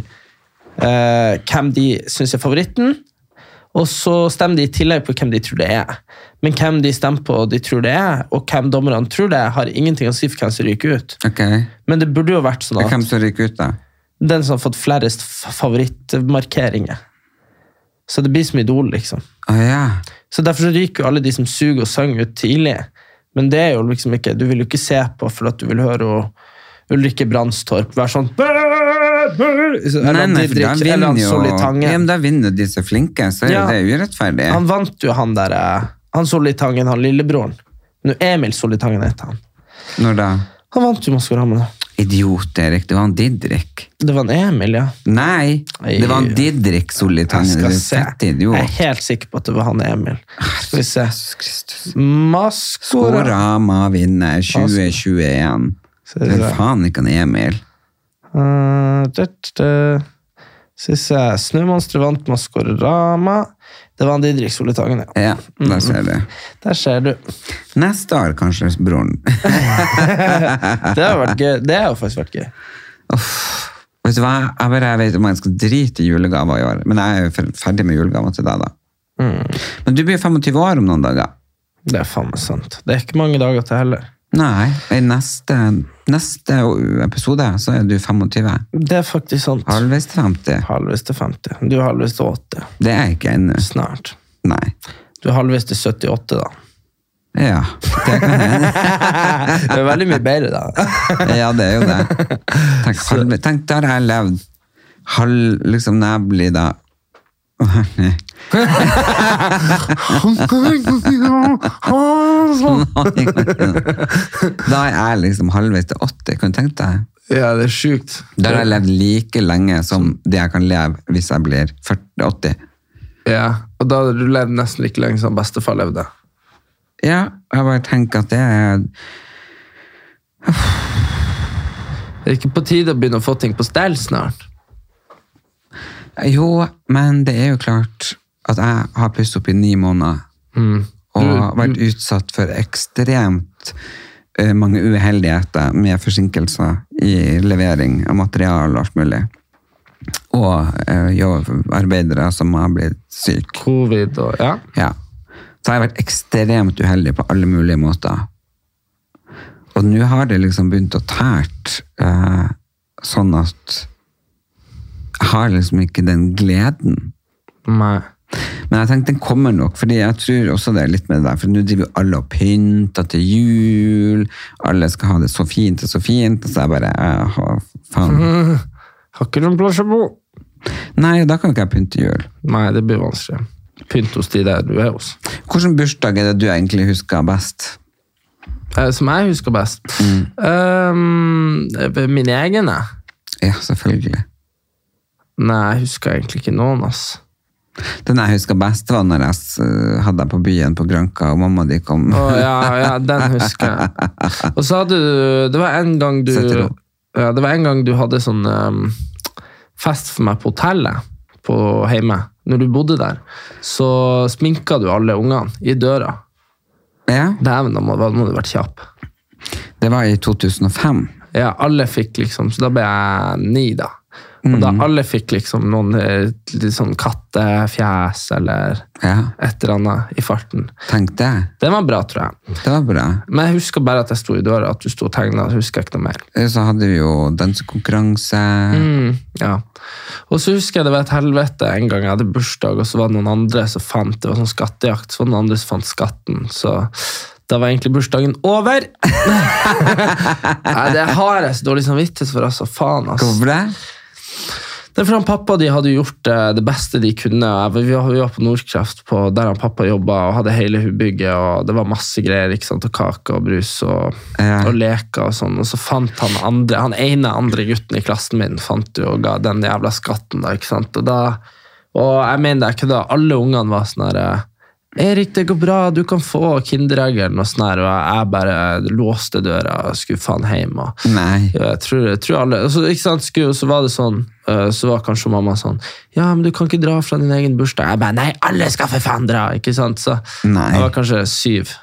Speaker 2: eh, hvem de syns er favoritten. Og så stemmer de i tillegg på hvem de tror det er. Men hvem de stemmer på de tror det er, og hvem dommerne tror det er, har ingenting å si for hvem som ryker ut.
Speaker 1: Ok,
Speaker 2: Men det burde jo vært sånn
Speaker 1: og hvem
Speaker 2: at
Speaker 1: som ryker ut da?
Speaker 2: den som har fått flerrest f- favorittmarkeringer. Så det blir som Idol, liksom.
Speaker 1: Å ja,
Speaker 2: Så derfor så ryker jo alle de som suger og synger ut tidlig. Men det er jo liksom ikke, du vil jo ikke se på for at du vil høre og Ulrikke Brandstorp være sånn Eller
Speaker 1: Nei,
Speaker 2: han
Speaker 1: nei, for da
Speaker 2: Didrik, eller
Speaker 1: vinner
Speaker 2: han
Speaker 1: jo
Speaker 2: Solli Tangen.
Speaker 1: ja, men da vinner jo de som er flinke, så er jo
Speaker 2: Ja.
Speaker 1: det urettferdig.
Speaker 2: Han vant jo han der eh, Han Solitangen, han lillebroren. Nå Emil Solitangen heter han.
Speaker 1: Når da
Speaker 2: Han vant jo Maskorama.
Speaker 1: Idiot, Erik. Det var han Didrik.
Speaker 2: Det var en Emil, ja.
Speaker 1: Nei, det var han Didrik Solli
Speaker 2: Jeg
Speaker 1: Tangen. Du
Speaker 2: skal
Speaker 1: er
Speaker 2: se.
Speaker 1: fett
Speaker 2: Jeg er
Speaker 1: idiot.
Speaker 2: helt sikker på at det var han Emil. Skal vi se.
Speaker 1: Kristus.
Speaker 2: Maskora
Speaker 1: Korama vinner 2021.
Speaker 2: Ser du
Speaker 1: Det er
Speaker 2: det?
Speaker 1: faen ikke han Emil.
Speaker 2: Eh, tørt, eh, Skal vi se. Snømonsteret vant Maskorama. Det var han Didrik Solitangen, ja.
Speaker 1: Ja, der ser du.
Speaker 2: Der ser du.
Speaker 1: Neste år kanskje, broren.
Speaker 2: Det har vært gøy. Det har jo faktisk vært gøy.
Speaker 1: Vet du hva? Jeg bare jeg vet om jeg skal drite i julegaver i år. Men jeg er jo fer- ferdig med julegaver til deg, da.
Speaker 2: Mm.
Speaker 1: Men du blir 25 år om noen dager.
Speaker 2: Det er faen meg sant. Det er ikke mange dager til heller.
Speaker 1: Nei, i neste, neste episode så er du 25.
Speaker 2: Det er faktisk sant.
Speaker 1: Halvveis til 50.
Speaker 2: Halvveis til 50. Du er halvveis til 80.
Speaker 1: Det er jeg ikke ennå.
Speaker 2: Snart.
Speaker 1: Nei.
Speaker 2: Du er halvveis til 78, da.
Speaker 1: Ja. Det kan hende.
Speaker 2: Det er veldig mye bedre, da.
Speaker 1: Ja, det er jo det. Tenk, halv, tenk der har jeg levd halv Liksom når jeg blir da Nei. Da er jeg liksom halvveis til 80, kan du tenke deg?
Speaker 2: Ja, det er sjukt.
Speaker 1: Da har jeg levd like lenge som det jeg kan leve hvis jeg blir 40, 80.
Speaker 2: Ja, og da hadde du levd nesten like lenge som bestefar levde.
Speaker 1: Ja, jeg bare tenker at det er
Speaker 2: Det er ikke på tide å begynne å få ting på stell snart.
Speaker 1: Jo, men det er jo klart at jeg har pusset opp i ni måneder. Og har vært utsatt for ekstremt eh, mange uheldigheter med forsinkelser i levering av materiale og alt mulig. Og eh, jobb- arbeidere som har blitt syke.
Speaker 2: Covid og Ja.
Speaker 1: Ja. Så jeg har vært ekstremt uheldig på alle mulige måter. Og nå har det liksom begynt å tært eh, sånn at jeg har liksom ikke den gleden.
Speaker 2: Nei.
Speaker 1: Men jeg tenkte den kommer nok, fordi jeg tror også det er litt med det der, for nå driver jo alle og pynter til jul, alle skal ha det så fint og så fint, og så er jeg bare, jeg har faen.
Speaker 2: Har ikke noen plass å bo.
Speaker 1: Nei, da kan jo ikke jeg pynte jul.
Speaker 2: Nei, det blir vanskelig. Pynt hos de der du er hos.
Speaker 1: Hvilken bursdag er det du egentlig husker best?
Speaker 2: Eh, Som jeg husker best. Um, min egen, jeg.
Speaker 1: Ja, selvfølgelig.
Speaker 2: Nei, jeg husker egentlig ikke noen, ass.
Speaker 1: Den jeg husker best var når jeg s- hadde deg på byen på Granka, og mamma de kom.
Speaker 2: Å, ja, ja, den husker jeg. Og så hadde du Det var en gang du
Speaker 1: Setter opp.
Speaker 2: ja, Det var en gang du hadde sånn ehm, fest for meg på hotellet på hjemme. Når du bodde der, så sminka du alle ungene i døra.
Speaker 1: Ja,
Speaker 2: Dæven, da må, da må du ha vært kjapp.
Speaker 1: det var i 2005.
Speaker 2: Ja, alle fikk liksom Så da ble jeg ni, da. Og da alle fikk liksom noen eh, litt sånn kattefjes eller
Speaker 1: Ja,
Speaker 2: et eller annet i farten.
Speaker 1: tenk det.
Speaker 2: Den var bra, tror jeg.
Speaker 1: Det var bra.
Speaker 2: Men jeg husker bare at jeg sto i døra, at du sto og tegna. Husker jeg ikke noe mer.
Speaker 1: Eh, Så hadde vi jo dansekonkurranse.
Speaker 2: Mm, ja. Og så husker jeg det var et helvete en gang jeg hadde bursdag, og så var det noen andre som fant det var sånn skattejakt, så var det noen andre som fant skatten. Så da var egentlig bursdagen over! Nei, det har jeg så dårlig samvittighet for, altså. Faen, altså.
Speaker 1: Hvorfor det?
Speaker 2: Det er fordi han pappa de hadde gjort eh, det beste de kunne. og jeg- Vi var, vi var på Nordkraft, på, der han pappa jobba, og hadde hele hu- bygget. og Det var masse greier. ikke sant, og Kake og brus og,
Speaker 1: Ja.
Speaker 2: og leker og sånn. Og så fant han andre, han ene andre gutten i klassen min fant jo og ga den jævla skatten. da, ikke sant, Og da, og jeg mener det er ikke da, alle ungene var sånn her eh, Erik, det går bra, du kan få Kindereggeren og sånn her. Og jeg bare låste døra og skulle faen hjem. og
Speaker 1: Nei.
Speaker 2: ja, jeg tror, jeg tror alle altså, ikke sant, skulle, Så var det sånn eh, Så var kanskje mamma sånn Ja, men du kan ikke dra fra din egen bursdag Jeg bare, nei, alle skal for faen dra Ikke sant, så
Speaker 1: Nei.
Speaker 2: Jeg var kanskje syv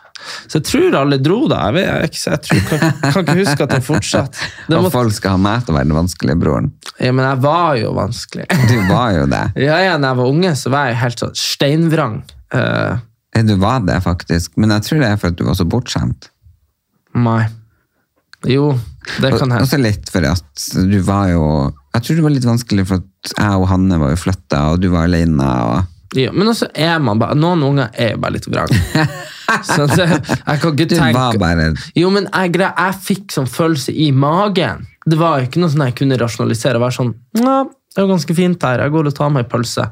Speaker 2: Så jeg tror alle dro da Jeg, vet, jeg, er ikke- så jeg tror, kan, kan ikke huske at jeg fortsatt det
Speaker 1: Og
Speaker 2: måtte,
Speaker 1: folk skal ha meg til å være den vanskelige broren.
Speaker 2: Ja, men jeg var jo vanskelig
Speaker 1: Du var jo det.
Speaker 2: Ja, ja, når jeg var unge så var jeg helt sånn Steinvrang Eh,
Speaker 1: Ja, Du var det, faktisk. Men jeg tror det er for at du var så bortskjemt.
Speaker 2: Nei Jo, det
Speaker 1: Og
Speaker 2: kan hende
Speaker 1: også litt for at du var jo Jeg tror det var litt vanskelig, for at jeg og Hanne var jo flytta, og du var alene. Og
Speaker 2: Ja, men også er man bare Noen unger er jo bare litt vrang. Så det, jeg kan ikke
Speaker 1: Du
Speaker 2: tenke
Speaker 1: var bare-
Speaker 2: Jo, men jeg, gre- jeg fikk sånn følelse i magen. Det var ikke noe sånn jeg kunne rasjonalisere. og Være sånn Nå, det er jo ganske fint her. Jeg går og tar meg en pølse.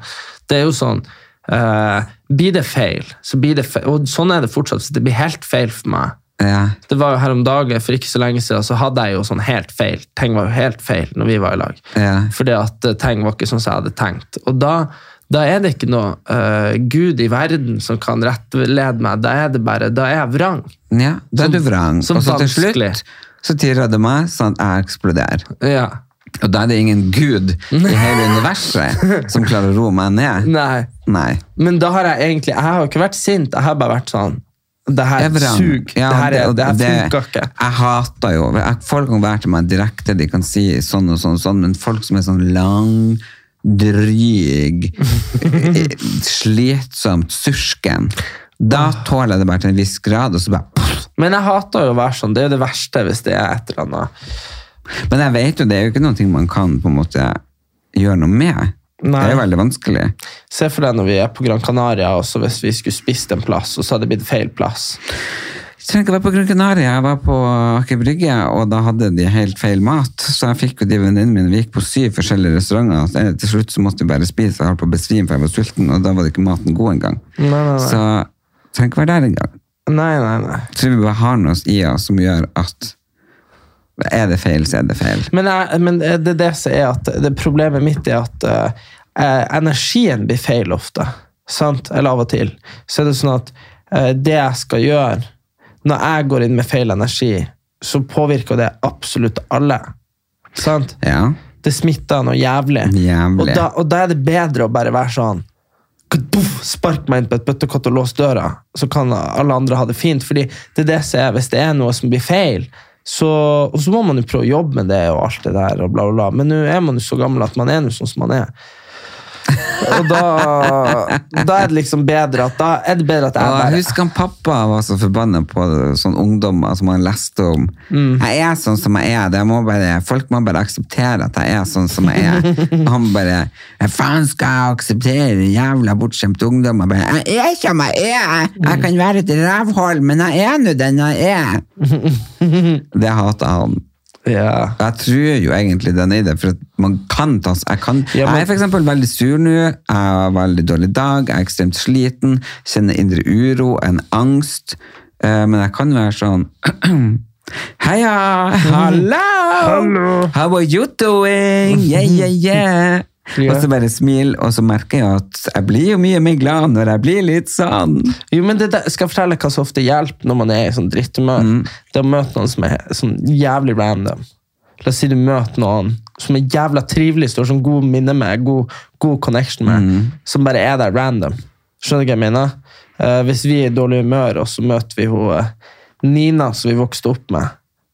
Speaker 2: Det er jo sånn eh, Blir det feil, så blir det feil. Og sånn er det fortsatt. Så det blir helt feil for meg.
Speaker 1: Ja.
Speaker 2: Det var jo her om dagen, for ikke så lenge siden, så hadde jeg jo sånn helt feil. Ting var jo helt feil når vi var i lag.
Speaker 1: Ja.
Speaker 2: Fordi at eh, ting var ikke sånn som jeg hadde tenkt. Og da, da er det ikke noe eh, Gud i verden som kan rettlede meg. Da er det bare, da er jeg vrang.
Speaker 1: ja. Da
Speaker 2: Som-
Speaker 1: er du vrang.
Speaker 2: som
Speaker 1: Og så til
Speaker 2: vanskelig.
Speaker 1: slutt så tirrer det meg sånn at jeg eksploderer.
Speaker 2: Ja.
Speaker 1: Og da er det ingen gud i hele universet som klarer å roe meg ned.
Speaker 2: Nei.
Speaker 1: Nei.
Speaker 2: Men da har jeg egentlig, jeg har jo ikke vært sint, jeg har bare vært sånn, det her
Speaker 1: Jeg er vrang.
Speaker 2: sug,
Speaker 1: Ja,
Speaker 2: det her, er-
Speaker 1: og
Speaker 2: det her
Speaker 1: det-
Speaker 2: funker ikke.
Speaker 1: Jeg hater jo jeg- Folk kan være til meg direkte, de kan si sånn og sånn, og sånn men folk som er sånn lang, dryg, eh, slitsomt, surken Da tåler jeg det bare til en viss grad, og så bare pff.
Speaker 2: Men jeg hater jo å være sånn, det er jo det verste hvis det er et eller annet.
Speaker 1: Men jeg vet jo, det er jo ikke noe man kan på en måte gjøre noe med. Det er jo
Speaker 2: Nei.
Speaker 1: veldig vanskelig.
Speaker 2: Se for deg når vi er på Gran Canaria, og så hvis vi skulle spist en plass, og så hadde det blitt feil plass.
Speaker 1: Jeg trenger ikke være på Gran Canaria, jeg var på Aker Brygge, og da hadde de helt feil mat. Så jeg fikk jo de venninnene mine, vi gikk på syv forskjellige restauranter, og til- til slutt så måtte vi bare spise, jeg holdt på å besvime for jeg var sulten, og da var det ikke maten god engang.
Speaker 2: Nei, nei, nei.
Speaker 1: Så jeg trenger ikke være der engang.
Speaker 2: Nei, nei, nei.
Speaker 1: Jeg tror vi bare har noe i oss som gjør at er det feil, så er det feil.
Speaker 2: Men, jeg, men det er det som er at det problemet mitt er at eh, energien blir feil ofte. Sant? Eller av og til. Så er det sånn at eh, det jeg skal gjøre, når jeg går inn med feil energi, så påvirker det absolutt alle. Sant?
Speaker 1: Ja,
Speaker 2: Det smitter noe jævlig.
Speaker 1: Jævlig.
Speaker 2: Og, da, og da er det bedre å bare være sånn kaduff, Spark meg inn på et bøttekott og lås døra, så kan alle andre ha det fint. fordi det er det som er, Hvis det er noe som blir feil, så, og så må man jo prøve å jobbe med det og alt det der, og bla, bla, bla. men nå er man jo så gammel at man er nå sånn som man er. Og da, da er det liksom bedre at da er det bedre at jeg
Speaker 1: Og
Speaker 2: bare
Speaker 1: jeg husker han pappa var så forbannet på sånne ungdommer som han leste om.
Speaker 2: Mm.
Speaker 1: Jeg er sånn som jeg er. det Må bare, folk må bare akseptere at jeg er sånn som jeg er. Og han bare «Hva faen skal jeg akseptere jævla bortskjemte ungdommer? Bare, jeg er som jeg er!
Speaker 2: Mm.
Speaker 1: Jeg kan være et rævhold, men jeg er nå den jeg er! Det hater han.
Speaker 2: ja.
Speaker 1: Jeg tror jo egentlig den er i det, for at man kan ta s- jeg, kan,
Speaker 2: Ja, men-
Speaker 1: jeg er for eksempel veldig sur nå, jeg har veldig dårlig dag, jeg er ekstremt sliten, kjenner indre uro, en angst, eh, men jeg kan være sånn, heia, hallo! How are you doing? Yeah, yeah, yeah!
Speaker 2: Ja.
Speaker 1: Og så bare smil, og så merker jeg at jeg blir jo mye mer glad når jeg blir litt sånn.
Speaker 2: Jo, men det der, Skal jeg fortelle hva som ofte hjelper når man er i sånn dritthumør?
Speaker 1: Mm.
Speaker 2: Det er å møte noen som er sånn jævlig random. La oss si du møter noen som er jævla trivelig, står sånn god minne med, god, god connection med,
Speaker 1: Mm.
Speaker 2: som bare er der random. Skjønner du hva jeg mener? Eh, hvis vi er i dårlig humør, og så møter vi hun, eh, Nina som vi vokste opp med,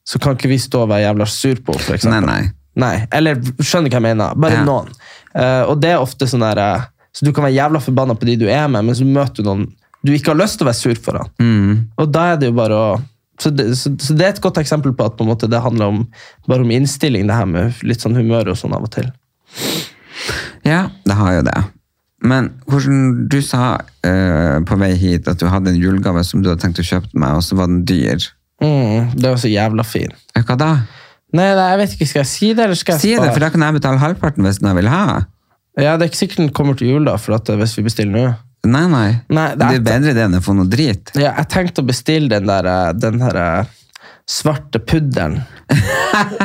Speaker 2: så kan ikke vi stå og være jævla sur på henne, for
Speaker 1: Nei,
Speaker 2: eksempel.
Speaker 1: nei.
Speaker 2: Nei, eller skjønner hva jeg mener. Bare
Speaker 1: Ja.
Speaker 2: noen. Eh, og det er ofte sånn der eh, Så du kan være jævla forbanna på de du er med, men så møter du noen du ikke har lyst til å være sur foran.
Speaker 1: Mm.
Speaker 2: Og da er det jo bare å så det, så, så det er et godt eksempel på at på en måte, det handler om, bare om innstilling, det her med litt sånn humør og sånn av og til.
Speaker 1: Ja, det har jo det. Men hvordan du sa eh, på vei hit at du hadde en julegave som du hadde tenkt å kjøpe til meg, og så var den dyr.
Speaker 2: Mm, det er jo så jævla fin.
Speaker 1: Ja, Hva da?
Speaker 2: Nei, nei, jeg vet ikke, skal jeg si det, eller skal jeg
Speaker 1: Si det,
Speaker 2: spare?
Speaker 1: for da kan jeg betale halvparten hvis den jeg vil ha.
Speaker 2: Ja, det er ikke sikkert den kommer til jul, da, for at, eh, hvis vi bestiller nå.
Speaker 1: Nei, nei.
Speaker 2: Nei,
Speaker 1: det, er
Speaker 2: det er-
Speaker 1: bedre det enn å få noe drit.
Speaker 2: Ja, jeg tenkte å bestille den der, eh, den her eh, svarte pudderen.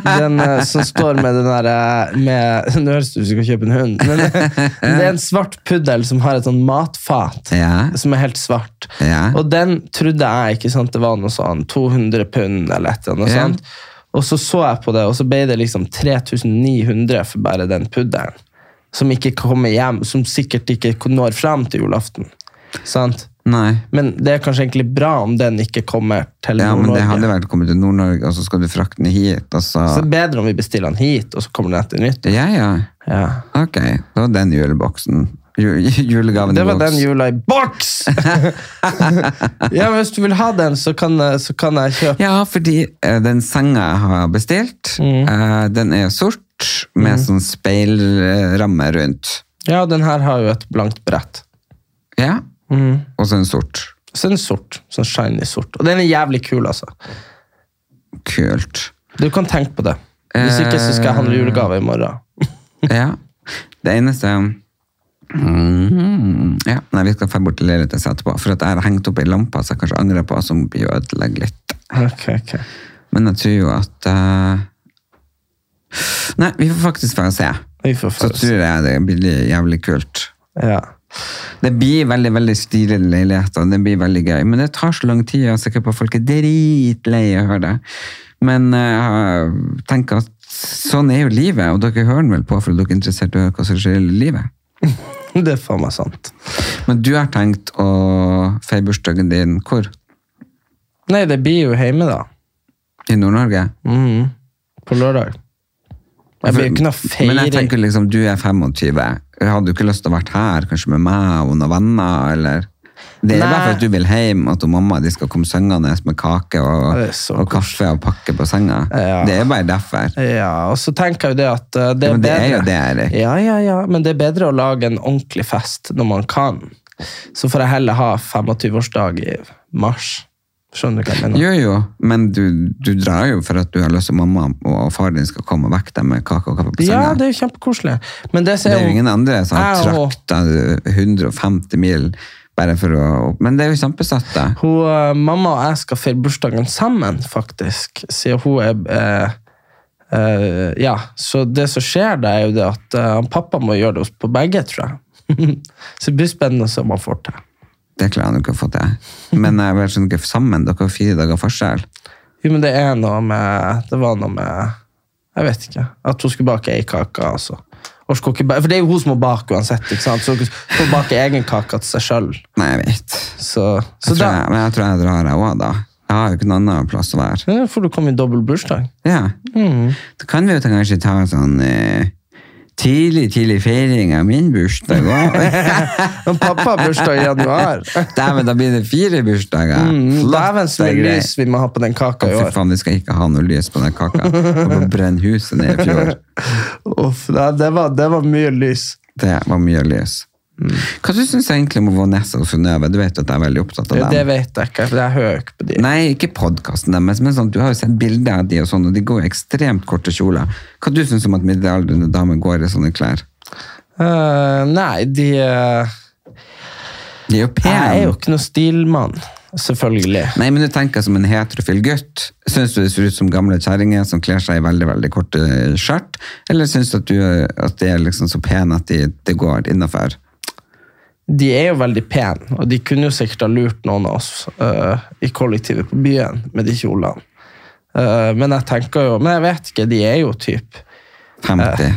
Speaker 2: Den eh, som står med den der eh, med, Nå høres det ut som du skal kjøpe en hund. Men det er en svart puddel som har et sånn matfat
Speaker 1: Ja.
Speaker 2: som er helt svart.
Speaker 1: Ja.
Speaker 2: Og den trodde jeg ikke sant, det var noe sånn 200 pund eller et eller annet.
Speaker 1: Ja.
Speaker 2: sant? Og så så jeg på det, og så ble det liksom 3900 for bare den puddelen. Som ikke kommer hjem, som sikkert ikke når fram til julaften. Sant?
Speaker 1: Nei.
Speaker 2: Men det er kanskje egentlig bra om den ikke kommer til
Speaker 1: Ja, men det hadde
Speaker 2: Nord-Norge.
Speaker 1: vært kommet til Nord-Norge, og så skal du frakte den hit, og så...
Speaker 2: Så det er bedre om vi bestiller den hit, og så kommer den etter nytt.
Speaker 1: Ja, ja.
Speaker 2: Ja.
Speaker 1: Ok, det var den juleboksen. Ju julegaven i
Speaker 2: Det var
Speaker 1: boks.
Speaker 2: den jula i boks! ja, men Hvis du vil ha den, så kan, eh, så kan jeg kjøpe
Speaker 1: Ja, fordi eh, den senga jeg har bestilt, eh, den er sort med sånn speilramme rundt.
Speaker 2: Ja, den her har jo et blankt brett.
Speaker 1: Ja. Og så en sort.
Speaker 2: Så er den sort. Sånn shiny sort. Og den er jævlig kul, altså.
Speaker 1: Kult.
Speaker 2: Du kan tenke på det. Hvis ikke, så skal jeg handle julegave i morgen.
Speaker 1: Ja. Det eneste mm, ja. Nei, vi skal dra bort til leiligheten etterpå. For at jeg har hengt opp ei lampe som jeg kanskje angrer på, som blir å ødelegge litt.
Speaker 2: Ok, ok.
Speaker 1: Men jeg tror jo at eh, Nei, vi får faktisk få se.
Speaker 2: Vi får
Speaker 1: Så
Speaker 2: få se.
Speaker 1: tror jeg det blir jævlig kult.
Speaker 2: Ja.
Speaker 1: Det blir veldig veldig stilige leiligheter, det blir veldig gøy. Men det tar så lang tid, jeg er sikker på at folk er dritlei av å høre det. Men eh, jeg tenker at sånn er jo livet, og dere hører den vel på fordi dere er interessert i å høre hva som skjer i livet.
Speaker 2: Det er faen meg sant.
Speaker 1: Men du har tenkt å feire bursdagen din hvor?
Speaker 2: Nei, det blir jo hjemme, da.
Speaker 1: I Nord-Norge?
Speaker 2: Mhm. På lørdag. Jeg blir jo ikke noe
Speaker 1: Men jeg
Speaker 2: feiring.
Speaker 1: tenker liksom, du er 25. Hadde du ikke lyst til å være her, kanskje med meg og noen venner, eller? Det er
Speaker 2: Nei.
Speaker 1: bare for at du vil hjem, at hun mamma de skal komme sengende med kake og,
Speaker 2: Det er så
Speaker 1: og kaffe og pakke på senga.
Speaker 2: Ja.
Speaker 1: Det er bare derfor.
Speaker 2: Ja, og så tenker jeg jo det at eh, det
Speaker 1: Ja, men
Speaker 2: er
Speaker 1: det er
Speaker 2: bedre.
Speaker 1: jo det, Erik.
Speaker 2: Ja, ja, ja, men det er bedre å lage en ordentlig fest når man kan. Så får jeg heller ha 25-årsdag i mars. Skjønner du hva jeg mener?
Speaker 1: Jo, jo, men du, du drar jo for at du har lyst til at mamma og far din skal komme og vekke deg med kake og kaffe på
Speaker 2: Ja,
Speaker 1: senga.
Speaker 2: det er jo kjempekoselig. Men
Speaker 1: sånn,
Speaker 2: det
Speaker 1: Det
Speaker 2: ser
Speaker 1: er jo
Speaker 2: jo
Speaker 1: ingen andre som har
Speaker 2: Jeg og-
Speaker 1: trakta 150 mil bare for å Men det er jo kjempesøtt, da.
Speaker 2: hun, eh, Mamma og jeg skal feire bursdagen sammen, faktisk. Siden hun er eh, eh, Ja, så det som skjer da, er jo det at eh, han pappa må gjøre det på begge, tror jeg. så det blir spennende om han får til.
Speaker 1: Det klarer han jo ikke å få til. Men jeg vet ikke, sammen, dere har fire dager forskjell.
Speaker 2: Jo, men det er noe med Det var noe med Jeg vet ikke. At hun skulle bake ei kake, altså. Og skulle ikke ba- For det er jo hun som må bake uansett, ikke sant? Så hun får bake egen kake til seg sjøl.
Speaker 1: Nei, jeg vet.
Speaker 2: Så, så
Speaker 1: Jeg tror
Speaker 2: da
Speaker 1: jeg, men jeg tror jeg drar, jeg òg, da. Jeg har jo ikke noen annen plass å være.
Speaker 2: Ja, får du komme i dobbel bursdag.
Speaker 1: Ja.
Speaker 2: Mm.
Speaker 1: Da kan vi jo ta- kanskje ta en sånn eh, tidlig, tidlig feiring av min bursdag òg.
Speaker 2: Men pappa har bursdag i januar.
Speaker 1: Dæven, da blir det fire bursdager.
Speaker 2: Mm,
Speaker 1: Flott,
Speaker 2: Dæven så
Speaker 1: det er
Speaker 2: mye
Speaker 1: greit.
Speaker 2: lys vi må ha på den
Speaker 1: Å,
Speaker 2: kaka i
Speaker 1: Fy
Speaker 2: år.
Speaker 1: faen, vi skal ikke ha noe lys på den kaka. Og brenne huset ned i fjor.
Speaker 2: Uff, nei, det, var, det var mye lys.
Speaker 1: Det var mye lys.
Speaker 2: Mm.
Speaker 1: Hva syns du synes egentlig om Vanessa og Synnøve? Du vet jo at jeg er veldig opptatt av
Speaker 2: Det
Speaker 1: dem.
Speaker 2: vet jeg ikke, for jeg hører jo ikke på de.
Speaker 1: Nei, ikke podkasten deres, men sånn, du har jo sett bilder av de og sånn, og de går i ekstremt korte kjoler. Hva du syns om at middelaldrende damer går i sånne klær?
Speaker 2: Eh, nei, de eh,
Speaker 1: De er jo
Speaker 2: Jeg er jo
Speaker 1: pene.
Speaker 2: ikke noe stilmann, selvfølgelig.
Speaker 1: Nei, men du tenker som en heterofil gutt. Syns du det ser ut som gamle kjerringer som kler seg i veldig veldig korte skjørt? Eller syns du at, du, at de er liksom så pene at de- det går innafor?
Speaker 2: De er jo veldig pene, og de kunne jo sikkert ha lurt noen av oss eh, i kollektivet på byen med de kjolene. Eh, men jeg tenker jo Men jeg vet ikke, de er jo typ
Speaker 1: 50.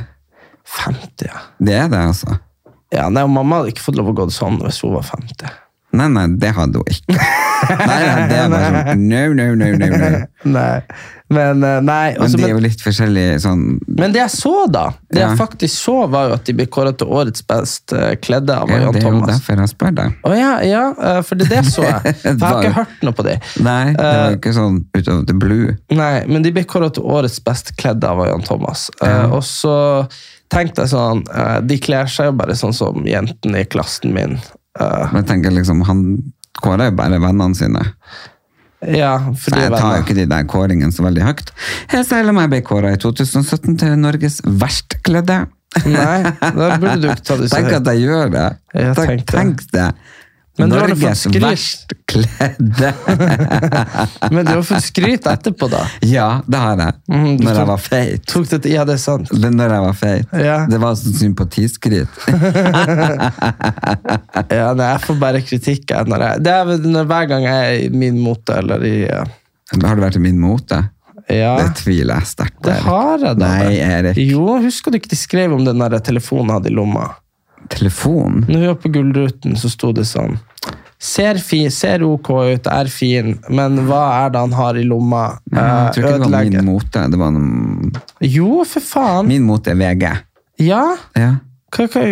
Speaker 2: 50. Ja,
Speaker 1: Det er det, altså.
Speaker 2: ja nei, og Mamma hadde ikke fått lov å gå sånn hvis hun var 50.
Speaker 1: Nei, nei, det hadde hun ikke. Nei, nei, det er bare sånn No, no, no, no, no.
Speaker 2: Nei, men eh, nei,
Speaker 1: Men
Speaker 2: altså,
Speaker 1: de er
Speaker 2: men,
Speaker 1: jo litt forskjellige sånn
Speaker 2: men det jeg så, da Det
Speaker 1: Ja.
Speaker 2: jeg faktisk så, var jo at de ble kåret til årets best eh, kledde av
Speaker 1: Det er jo-
Speaker 2: Jan
Speaker 1: det er jo
Speaker 2: Thomas.
Speaker 1: derfor jeg spør deg.
Speaker 2: Å ja, ja, eh, for det, det så jeg. For jeg har
Speaker 1: Bare-
Speaker 2: ikke hørt noe på det.
Speaker 1: Nei, det var
Speaker 2: Eh,
Speaker 1: jo ikke sånn ut of the blue.
Speaker 2: Nei, men de ble kåret til årets best kledde av Jan Thomas. Eh, og så tenkte jeg sånn eh, De kler seg jo bare sånn som jentene i klassen min. Eh,
Speaker 1: Men jeg tenker liksom, han kårer jo bare vennene sine.
Speaker 2: ja,
Speaker 1: Så
Speaker 2: fordi
Speaker 1: jeg tar jo
Speaker 2: venner.
Speaker 1: ikke de der kåringene så veldig høyt. Jeg selv om jeg ble kåra i 2017 til Norges verst kledde.
Speaker 2: Nei, da burde du ikke ta det så
Speaker 1: Tenk at
Speaker 2: høyt.
Speaker 1: jeg gjør det.
Speaker 2: Jeg
Speaker 1: Tenk,
Speaker 2: tenkte-
Speaker 1: tenk det.
Speaker 2: Men du har jo fått
Speaker 1: Norges
Speaker 2: skryt.
Speaker 1: verst kledde.
Speaker 2: Men du har fått skryt etterpå, da.
Speaker 1: Ja, det har jeg.
Speaker 2: Mm, du
Speaker 1: når jeg
Speaker 2: tok-
Speaker 1: var feit.
Speaker 2: Tok det, ja, det er sant.
Speaker 1: Det når jeg var feit.
Speaker 2: Ja.
Speaker 1: Det var sånn sympatiskritt.
Speaker 2: Ja, nei, jeg får bare kritikk. jeg, Når jeg, det er vel når, hver gang jeg er i min mote eller i eh,
Speaker 1: Har du vært i min mote?
Speaker 2: Ja,
Speaker 1: Det tviler jeg sterkt på.
Speaker 2: det
Speaker 1: Erik.
Speaker 2: har jeg, da.
Speaker 1: Nei, Erik.
Speaker 2: Jo, husker du ikke de skrev om den der telefonen jeg hadde i lomma?
Speaker 1: Telefon?
Speaker 2: Når vi var på Gullruten, så sto det sånn Ser, fi, ser ok ut, er fin, men hva er det han har i lomma? Eh,
Speaker 1: Mm, Jeg tror ikke det var
Speaker 2: ødelegger.
Speaker 1: min mote. Det var noen...
Speaker 2: Jo, for faen!
Speaker 1: Min mote er VG.
Speaker 2: Ja?
Speaker 1: Ja.
Speaker 2: Hva, hva,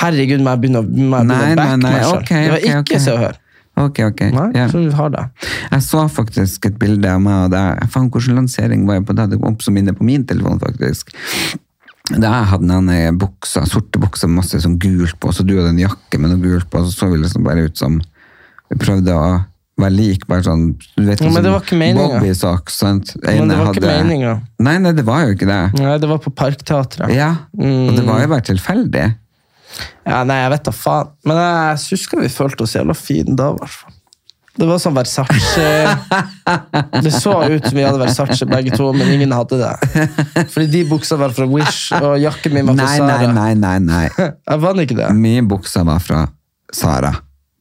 Speaker 2: herregud, må jeg begynne å må jeg
Speaker 1: Nei,
Speaker 2: begynne å
Speaker 1: nei,
Speaker 2: backe
Speaker 1: nei,
Speaker 2: meg selv?
Speaker 1: ok,
Speaker 2: Det var
Speaker 1: ok,
Speaker 2: ikke
Speaker 1: ok.
Speaker 2: Se og Hør.
Speaker 1: Ok, ok.
Speaker 2: Nei,
Speaker 1: Ja.
Speaker 2: så du har det.
Speaker 1: Jeg så faktisk et bilde av meg og deg. Faen, hvilken lansering var jeg på det? Det kom opp som minne på min telefon, faktisk. Da jeg hadde den ene buksa, sorte buksa med masse sånn gult på, så du hadde en jakke med noe gult på, så så vi liksom bare ut som Vi prøvde å være lik, bare sånn du vet,
Speaker 2: Ja, men
Speaker 1: sånn
Speaker 2: det var ikke meningen.
Speaker 1: Bobbysak, sant?
Speaker 2: Men det
Speaker 1: Ene
Speaker 2: var ikke
Speaker 1: hadde-
Speaker 2: meningen.
Speaker 1: Nei, nei, det var jo ikke det.
Speaker 2: Nei, det var på Parkteatret.
Speaker 1: Ja, og det var jo bare tilfeldig.
Speaker 2: Ja, nei, jeg vet da faen. Men jeg husker vi følte oss jævla fine da, i hvert fall. Det var sånn Versace Det så ut som vi hadde Versace begge to, men ingen hadde det. Fordi de buksa var fra Wish, og jakken min var fra
Speaker 1: Nei, nei,
Speaker 2: Sara.
Speaker 1: nei, nei, nei.
Speaker 2: Jeg vant ikke det.
Speaker 1: Mye bukser var fra Sara.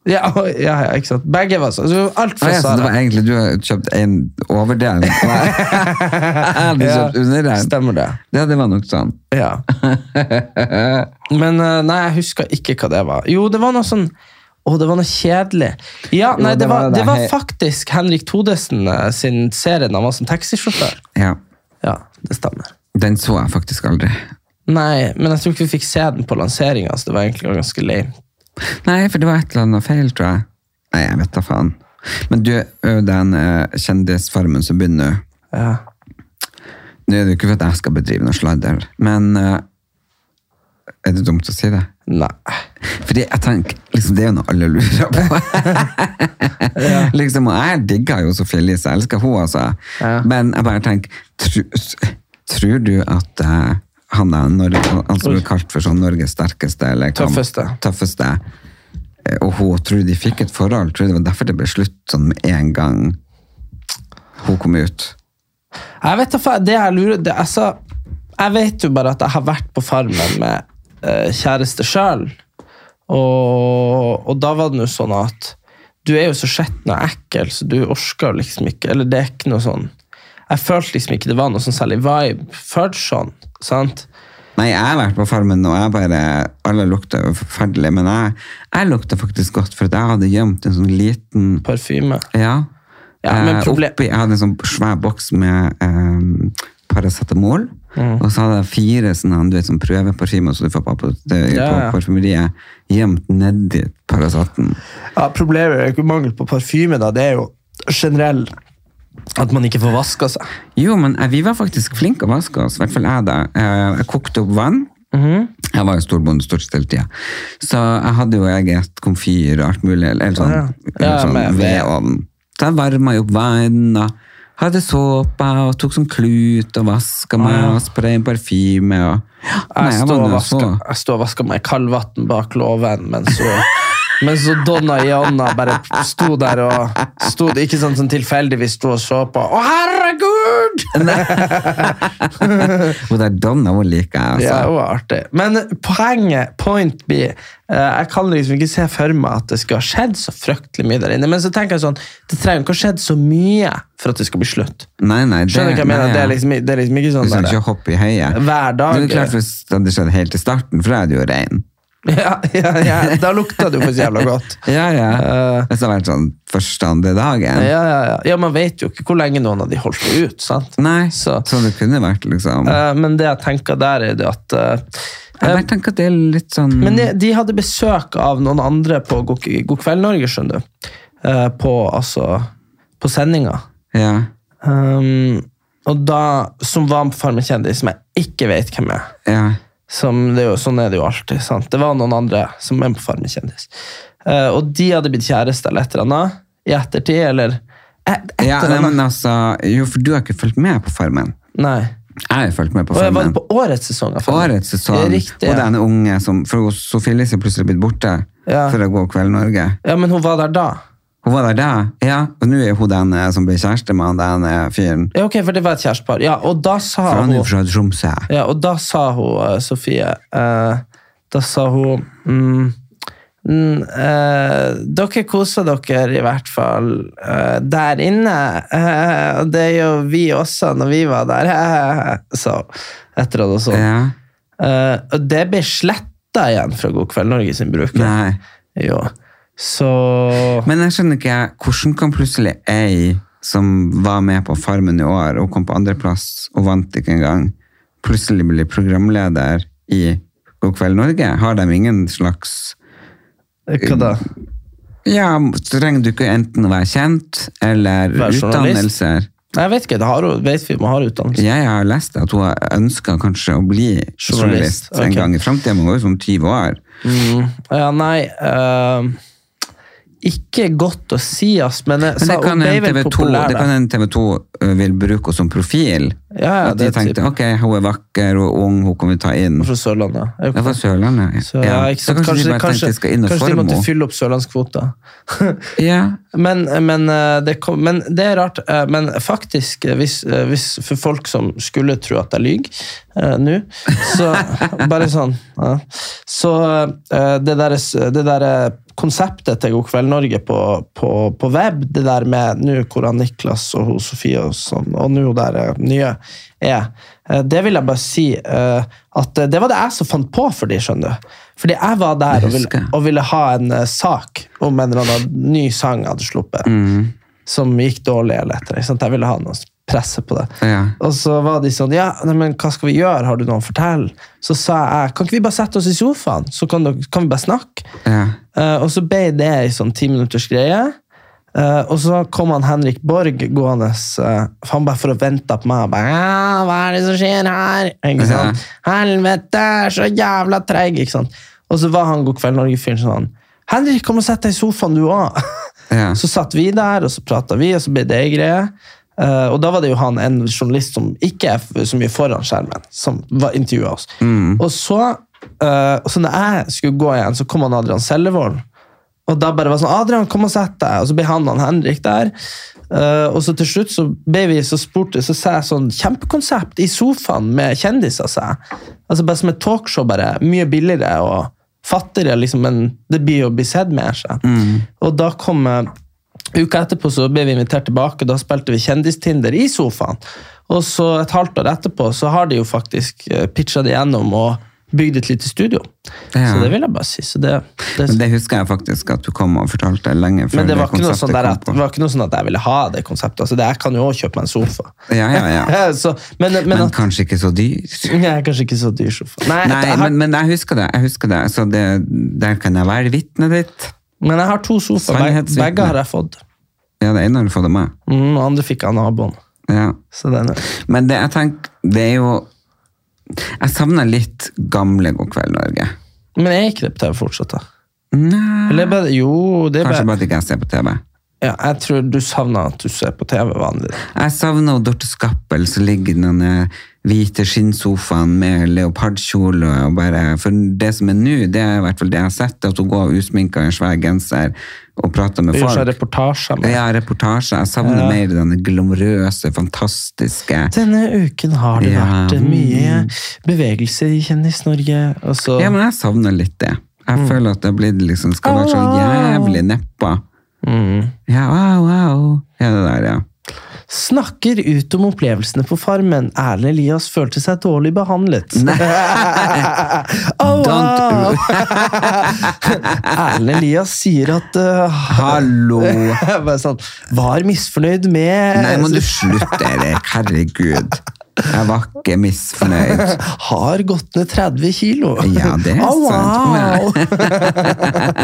Speaker 2: Ja, ja, ja, ikke sant. Begge var sånn. Så Alt
Speaker 1: Ah,
Speaker 2: fra
Speaker 1: ja, så det
Speaker 2: Sara.
Speaker 1: var egentlig du har kjøpt en overdel, og jeg hadde
Speaker 2: Ja,
Speaker 1: kjøpt underdel.
Speaker 2: Stemmer det.
Speaker 1: Ja, det var nok sånn.
Speaker 2: Ja. Men eh, nei, jeg husker ikke hva det var. Jo, det var noe sånn Å, det var noe kjedelig. Ja,
Speaker 1: Jo,
Speaker 2: nei,
Speaker 1: det
Speaker 2: det
Speaker 1: var
Speaker 2: var,
Speaker 1: det
Speaker 2: det var
Speaker 1: her-
Speaker 2: faktisk Henrik Thodesen eh, sin serie da han var som taxisjåfør.
Speaker 1: Ja,
Speaker 2: Ja, det stemmer.
Speaker 1: den så jeg faktisk aldri.
Speaker 2: Nei, men jeg tror ikke vi fikk se den på lanseringa, så det var egentlig ganske lame.
Speaker 1: Nei, for det var et eller annet feil, tror jeg. Nei, jeg vet da faen. Men du, ø, den ø, kjendisfarmen som begynner nå,
Speaker 2: Ja.
Speaker 1: nå er det jo ikke for at jeg skal bedrive noe sladder, men ø, er det dumt å si det?
Speaker 2: Nei.
Speaker 1: Fordi jeg tenker, liksom, det er jo noe alle lurer på. liksom, og jeg digger jo Sofie Elise, jeg elsker henne, altså.
Speaker 2: Ja.
Speaker 1: Men jeg bare tenker, tru, s- tror du at eh, han, er Nor- han som ble kalt for sånn Norges sterkeste, eller hva-
Speaker 2: Tøffeste.
Speaker 1: tøffeste eh, og hun tror du de fikk et forhold, tror du det var derfor det ble slutt sånn med en gang hun kom ut?
Speaker 2: Jeg vet da faen, det jeg lurer det, altså, Jeg vet jo bare at jeg har vært på Farmen med eh, kjæreste sjøl. Og, og da var det jo sånn at du er jo så skitten og ekkel, så du orker jo liksom ikke Eller det er ikke noe sånn Jeg følte liksom ikke det var noe sånn særlig vibe før sånn. sant?
Speaker 1: Nei, jeg har vært på farmen, og jeg bare, alle lukter jo forferdelig, men jeg, jeg lukter faktisk godt, for at jeg hadde gjemt en sånn liten,
Speaker 2: Parfyme.
Speaker 1: ja,
Speaker 2: Ja, men
Speaker 1: eh,
Speaker 2: proble-
Speaker 1: oppi, jeg hadde en sånn svær boks med eh, paracetamol,
Speaker 2: Mm.
Speaker 1: og så hadde jeg fire sånne, du vet, sånn prøveparfymer, så du får på, på,
Speaker 2: Ja, ja.
Speaker 1: på parfymeriet, gjemt nedi paracetten.
Speaker 2: Ja, Problemet er jo ikke mangel på parfyme, da. Det er jo generell at man ikke får vaska seg.
Speaker 1: Jo, men eh, vi var faktisk flinke å vaske oss, i hvert fall jeg da. Eh, Jeg kokte opp vann.
Speaker 2: Mhm.
Speaker 1: Jeg var jo storbonde stort sett hele tida. Så jeg hadde jo eget komfyr og alt mulig, eller sånn,
Speaker 2: Ja, ja.
Speaker 1: eller
Speaker 2: Ja,
Speaker 1: sånn
Speaker 2: med- med-
Speaker 1: vedovn. Så jeg varma jo opp vann, og hadde såpa, og tok sånn klut, og vaska meg, og sprayet inn parfyme, og Nei,
Speaker 2: Jeg
Speaker 1: var sånn.
Speaker 2: står og
Speaker 1: nå
Speaker 2: vasker,
Speaker 1: så-
Speaker 2: jeg står og vasker meg i kaldvann bak låven, men så men så Donna Janna bare sto der og sto, Ikke sånn som tilfeldigvis sto og så på. Å, herregud!
Speaker 1: Hun der Donna, hun liker jeg, altså.
Speaker 2: Ja, det var artig. Men poenget, point be, eh, jeg kan liksom ikke se for meg at det skulle ha skjedd så fryktelig mye der inne. Men så tenker jeg sånn, det trenger ikke å ha skjedd så mye for at det skal bli slutt.
Speaker 1: Nei, nei, det,
Speaker 2: Skjønner du hva jeg mener?
Speaker 1: nei,
Speaker 2: Det,
Speaker 1: ja.
Speaker 2: er liksom, det er liksom ikke
Speaker 1: Du
Speaker 2: sånn
Speaker 1: skal
Speaker 2: der.
Speaker 1: ikke hoppe i høyet.
Speaker 2: Hver dag.
Speaker 1: Men Det er klart hvis det hadde skjedd helt i starten, for da er du jo rein.
Speaker 2: Ja, ja, ja. Da lukta det jo for så jævla godt.
Speaker 1: Ja, ja.
Speaker 2: Eh.
Speaker 1: Hvis det hadde vært sånn første andre dagen.
Speaker 2: Ja, ja, ja. ja, man vet jo ikke hvor lenge noen av de holdt det ut, sant?
Speaker 1: Nei, så.
Speaker 2: Så,
Speaker 1: det kunne vært, liksom.
Speaker 2: eh, men det jeg tenker der er det at eh,
Speaker 1: jeg bare tenker at det er litt sånn
Speaker 2: Men de, de hadde besøk av noen andre på God, God kveld Norge, skjønner du. Eh, på, altså, på sendinga.
Speaker 1: Ja.
Speaker 2: Um, og da, som var på Farmen kjendis, som jeg ikke vet hvem er.
Speaker 1: ja.
Speaker 2: Som det er jo, sånn er det jo alltid. sant? Det var noen andre som er på Farmen kjendis. Eh, og de hadde blitt kjærester eller et eller annet i ettertid, eller et, et
Speaker 1: ja
Speaker 2: eller
Speaker 1: nei,
Speaker 2: annet.
Speaker 1: men altså, jo, for du har ikke fulgt med på Farmen.
Speaker 2: Nei.
Speaker 1: Jeg har jo fulgt med på
Speaker 2: Og jeg var
Speaker 1: Farmen.
Speaker 2: på årets sesong. av Farmen.
Speaker 1: Årets sesong.
Speaker 2: Det er
Speaker 1: Og
Speaker 2: Riktig, ja.
Speaker 1: den unge som For hun- Sofie Elise er plutselig blitt borte
Speaker 2: Ja.
Speaker 1: for å gå Kveld Norge.
Speaker 2: ja, men hun var der da.
Speaker 1: Hun var der da, ja. Og nå er hun den eh, som ble kjæreste med han den eh, fyren.
Speaker 2: Ja, ok, For det var et kjærestepar. Ja, og da sa
Speaker 1: For han
Speaker 2: hun
Speaker 1: er jo fra Tromsø.
Speaker 2: Ja, og da sa hun, eh, Sofie eh, Da sa hun mm, mm, eh, Dere koser dere i hvert fall eh, der inne. eh, Og det gjør vi også når vi var der, sa hun. Etter at hun så.
Speaker 1: Ja.
Speaker 2: Eh, og det ble sletta igjen fra God kveld Norge sin bruker.
Speaker 1: Nei.
Speaker 2: Jo. Så
Speaker 1: Men jeg skjønner ikke, hvordan kan plutselig ei som var med på Farmen i år og kom på andreplass og vant ikke engang, plutselig bli programleder i God kveld Norge? Har de ingen slags
Speaker 2: Hva da?
Speaker 1: Mm. Ja, trenger du ikke enten å være kjent eller
Speaker 2: Være journalist?
Speaker 1: utdannelser?
Speaker 2: Nei, Jeg vet ikke, det har, hun- vet vi, man har utdannelse.
Speaker 1: Jeg har lest at hun ønsker kanskje å bli journalist,
Speaker 2: Journalist,
Speaker 1: en
Speaker 2: ok.
Speaker 1: gang i fremtiden. men Hun var jo som 20 år.
Speaker 2: Mm. Ja, nei ehm, Ikke godt å si, ass, men, jeg
Speaker 1: Men
Speaker 2: sa
Speaker 1: det kan
Speaker 2: hun ble
Speaker 1: hende
Speaker 2: vel
Speaker 1: TV 2,
Speaker 2: populær,
Speaker 1: det
Speaker 2: da.
Speaker 1: kan hende TV 2 eh, vil bruke henne som profil.
Speaker 2: Ja, ja,
Speaker 1: at de
Speaker 2: det er
Speaker 1: tenkte
Speaker 2: typ-
Speaker 1: ok, hun er vakker og ung, hun kan vi ta inn.
Speaker 2: Hun er Fra Sørlandet. Er jo
Speaker 1: Ja, fra Sørlandet.
Speaker 2: Så, ja, ikke
Speaker 1: så
Speaker 2: sant?
Speaker 1: kanskje, de bare
Speaker 2: kanskje,
Speaker 1: tenkte de skal inn og
Speaker 2: kanskje de
Speaker 1: forme
Speaker 2: måtte
Speaker 1: henne.
Speaker 2: fylle opp sørlandskvota.
Speaker 1: Ja.
Speaker 2: Men, men, eh, det kom, men det er rart. eh, Men faktisk, eh, hvis, eh, hvis for folk som skulle tro at jeg lyver eh, nå, så bare sånn ja. Så eh, det der, det der eh, konseptet til God kveld Norge på, på, på web, det der med nå hvor han Niklas og hun Sofie og sånn, og nå hun der eh, nye er, eh, det vil jeg bare si eh, at eh, det var det jeg som fant på for de, skjønner du. Fordi jeg var der og ville,
Speaker 1: husker.
Speaker 2: og ville ha en eh, sak om en eller annen ny sang jeg hadde sluppet, som gikk dårlig eller etter. Ikke sant? Jeg ville ha noe presse på det.
Speaker 1: Ja.
Speaker 2: Og så var de sånn, ja, nei, men hva skal vi gjøre? Har du noe å fortelle? Så sa jeg, kan ikke vi bare sette oss i sofaen, så kan, dere, kan vi bare snakke?
Speaker 1: Ja.
Speaker 2: Eh, og så ble det en sånn ti minutters greie. Eh, og så kom han Henrik Borg gående eh, for han bare for å vente på meg. Han Bare, «Ja, 'Hva er det som skjer her?' Ikke sant? 'Helvete, så jævla treig!' Ikke sant? Og så var han God kveld Norge-fyren sånn 'Henrik, kom og sett deg i sofaen, du òg.'
Speaker 1: Ja.
Speaker 2: Så satt vi der, og så prata vi, og så ble det greie. Eh, og da var det jo han, en journalist som ikke er f- så mye foran skjermen, som intervjua oss. Og så, eh, og så når jeg skulle gå igjen, så kom han Adrian Sellevold. Og da bare var sånn, Adrian, kom og sett deg. Og så ble han og han Henrik der. Eh, og så til slutt så ble vi så spurte, så sa jeg sånn kjempekonsept i sofaen med kjendiser, sa jeg. Altså bare som et talkshow, bare. Mye billigere og fattigere, liksom, men det blir jo å bli sett mer. sa jeg.
Speaker 1: Mm.
Speaker 2: Og da kom eh, Uka etterpå så ble vi invitert tilbake, og da spilte vi Kjendistinder i sofaen. Og så et halvt år etterpå så har de jo faktisk eh, pitcha det gjennom og bygd et lite studio.
Speaker 1: Ja.
Speaker 2: Så det vil jeg bare si. Så det, det,
Speaker 1: Men det husker jeg faktisk at du kom og fortalte lenge før
Speaker 2: men det var ikke, noe
Speaker 1: konseptet
Speaker 2: sånn der
Speaker 1: kom
Speaker 2: at,
Speaker 1: på.
Speaker 2: det var ikke noe sånn at jeg ville ha det konseptet. Altså, det, jeg kan jo også kjøpe meg en sofa.
Speaker 1: Ja, ja, ja.
Speaker 2: så, men, men,
Speaker 1: Men
Speaker 2: at,
Speaker 1: kanskje ikke så dyrt.
Speaker 2: jeg er kanskje ikke så dyr sofa. Nei,
Speaker 1: Nei,
Speaker 2: jeg har,
Speaker 1: men,
Speaker 2: men,
Speaker 1: men jeg husker det, jeg husker det. Så det, der kan jeg være vitnet ditt.
Speaker 2: jeg har to sofaer. Begge,
Speaker 1: Sannhetsvitne.
Speaker 2: begge har jeg fått.
Speaker 1: Ja, det ene har du fått av meg.
Speaker 2: Mm, og andre fikk jeg av naboen.
Speaker 1: Ja.
Speaker 2: Så den er
Speaker 1: Men det, jeg tenker, det er jo Jeg savner litt gamle God kveld, Norge.
Speaker 2: Men jeg er ikke det på TV fortsatt, da.
Speaker 1: Nei.
Speaker 2: Eller bare, jo, det er
Speaker 1: Kanskje
Speaker 2: bare
Speaker 1: bare at ikke jeg ser på TV.
Speaker 2: ja, Jeg tror du savner at du ser på TV vanlig.
Speaker 1: Jeg savner jo Dorte Skappel som ligger i den eh, hvite skinnsofaen med leopardkjole. og bare, For det som er nå, det er i hvert fall det jeg har sett, at hun går usminka i en svær genser og prater med
Speaker 2: Du gjør sånn
Speaker 1: folk.
Speaker 2: reportasjer. men-
Speaker 1: Ja, reportasje. Jeg savner mer denne glamorøse, fantastiske
Speaker 2: Denne uken har det
Speaker 1: Ja,
Speaker 2: vært mye bevegelse i Kjendis-Norge. og så-
Speaker 1: Ja, men jeg savner litt det.
Speaker 2: Mm.
Speaker 1: Jeg føler at det har blitt liksom, skal være så jævlig neppa.
Speaker 2: Mm.
Speaker 1: Ja, wow, wow. Ja, det der, ja.
Speaker 2: Snakker ut om opplevelsene på Farmen. Erlend Elias følte seg dårlig behandlet. oh, wow. Erlend Elias sier at uh,
Speaker 1: Hallo!
Speaker 2: bare sånn, Var misfornøyd med
Speaker 1: Nei, må du slutte, Erik. Herregud. Jeg var ikke misfornøyd.
Speaker 2: Har gått ned 30 kilo.
Speaker 1: Ja, det er
Speaker 2: Au,
Speaker 1: sant.
Speaker 2: au.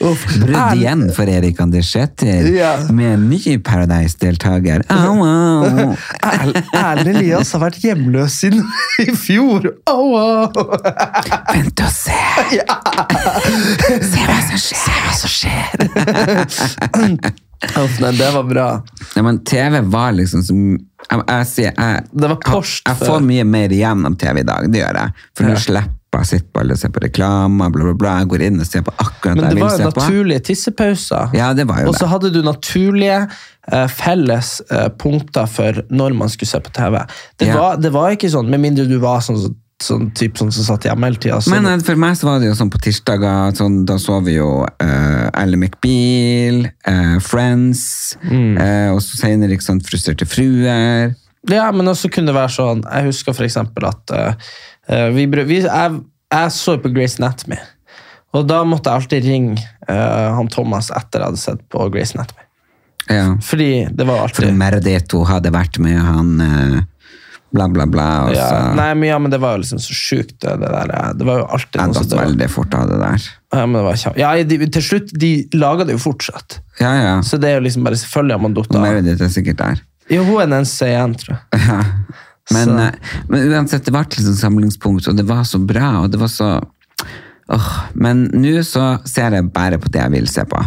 Speaker 2: Uff.
Speaker 1: Brudd
Speaker 2: Erlend-
Speaker 1: igjen for Erik Anders Sæther
Speaker 2: Ja.
Speaker 1: med en ny Paradise-deltaker. Au, au.
Speaker 2: Erl- Erlend Elias har vært hjemløs siden i fjor. Au, au.
Speaker 1: Vent og se! Se hva som skjer! Se hva som skjer.
Speaker 2: Uff, nei, det var bra.
Speaker 1: Ja, men TV var liksom som jeg, jeg, sier, jeg,
Speaker 2: Det var post
Speaker 1: jeg, jeg
Speaker 2: før.
Speaker 1: får mye mer igjen av TV i dag, det gjør jeg. For nå slipper jeg å sitte på alle og se på reklame, bla, bla, bla. Jeg går inn og ser på akkurat
Speaker 2: Men
Speaker 1: det
Speaker 2: det
Speaker 1: jeg vil
Speaker 2: var jo
Speaker 1: se på.
Speaker 2: naturlige tissepauser.
Speaker 1: Ja, det var jo
Speaker 2: og så
Speaker 1: det.
Speaker 2: hadde du naturlige eh, felles eh, punkter for når man skulle se på TV. Det,
Speaker 1: Ja.
Speaker 2: var, det var ikke sånn, med mindre du var sånn, sånn, sånn typ sånn som satt hjemme hele tida. Sånn,
Speaker 1: Men eh, for meg så var det jo sånn på tirsdager, sånn, da så vi jo eh, Ally McBeal, eh, Friends,
Speaker 2: Mm.
Speaker 1: eh, og så senere ikke sant, Frustrerte fruer.
Speaker 2: Ja, men også kunne det være sånn Jeg husker for eksempel at eh, vi, bru- vi, jeg, jeg så på Grey's Anatomy. Og da måtte jeg alltid ringe eh, han Thomas etter jeg hadde sett på Grey's Anatomy.
Speaker 1: Ja.
Speaker 2: Fordi det var
Speaker 1: For
Speaker 2: alltid
Speaker 1: Merdeto hadde vært med han eh, bla, bla, bla. Og
Speaker 2: ja,
Speaker 1: så
Speaker 2: Nei, men, ja, men det var jo liksom så sjukt, det, det der. eh, Det var jo alltid
Speaker 1: jeg
Speaker 2: noe som
Speaker 1: datt
Speaker 2: døde.
Speaker 1: veldig fort av det der.
Speaker 2: Ja, men det var kjem... ja, de, til slutt de laga det jo fortsatt.
Speaker 1: Ja, ja.
Speaker 2: Så det er jo liksom bare selvfølgelig Amandotta.
Speaker 1: Og Meredith er sikkert der.
Speaker 2: Jo, hun er den eneste igjen, tror jeg.
Speaker 1: Ja. Men,
Speaker 2: Så-
Speaker 1: eh, men uansett, det ble liksom samlingspunkt, og det var så bra, og det var så Åh, Men nå så ser jeg bare på det jeg vil se på.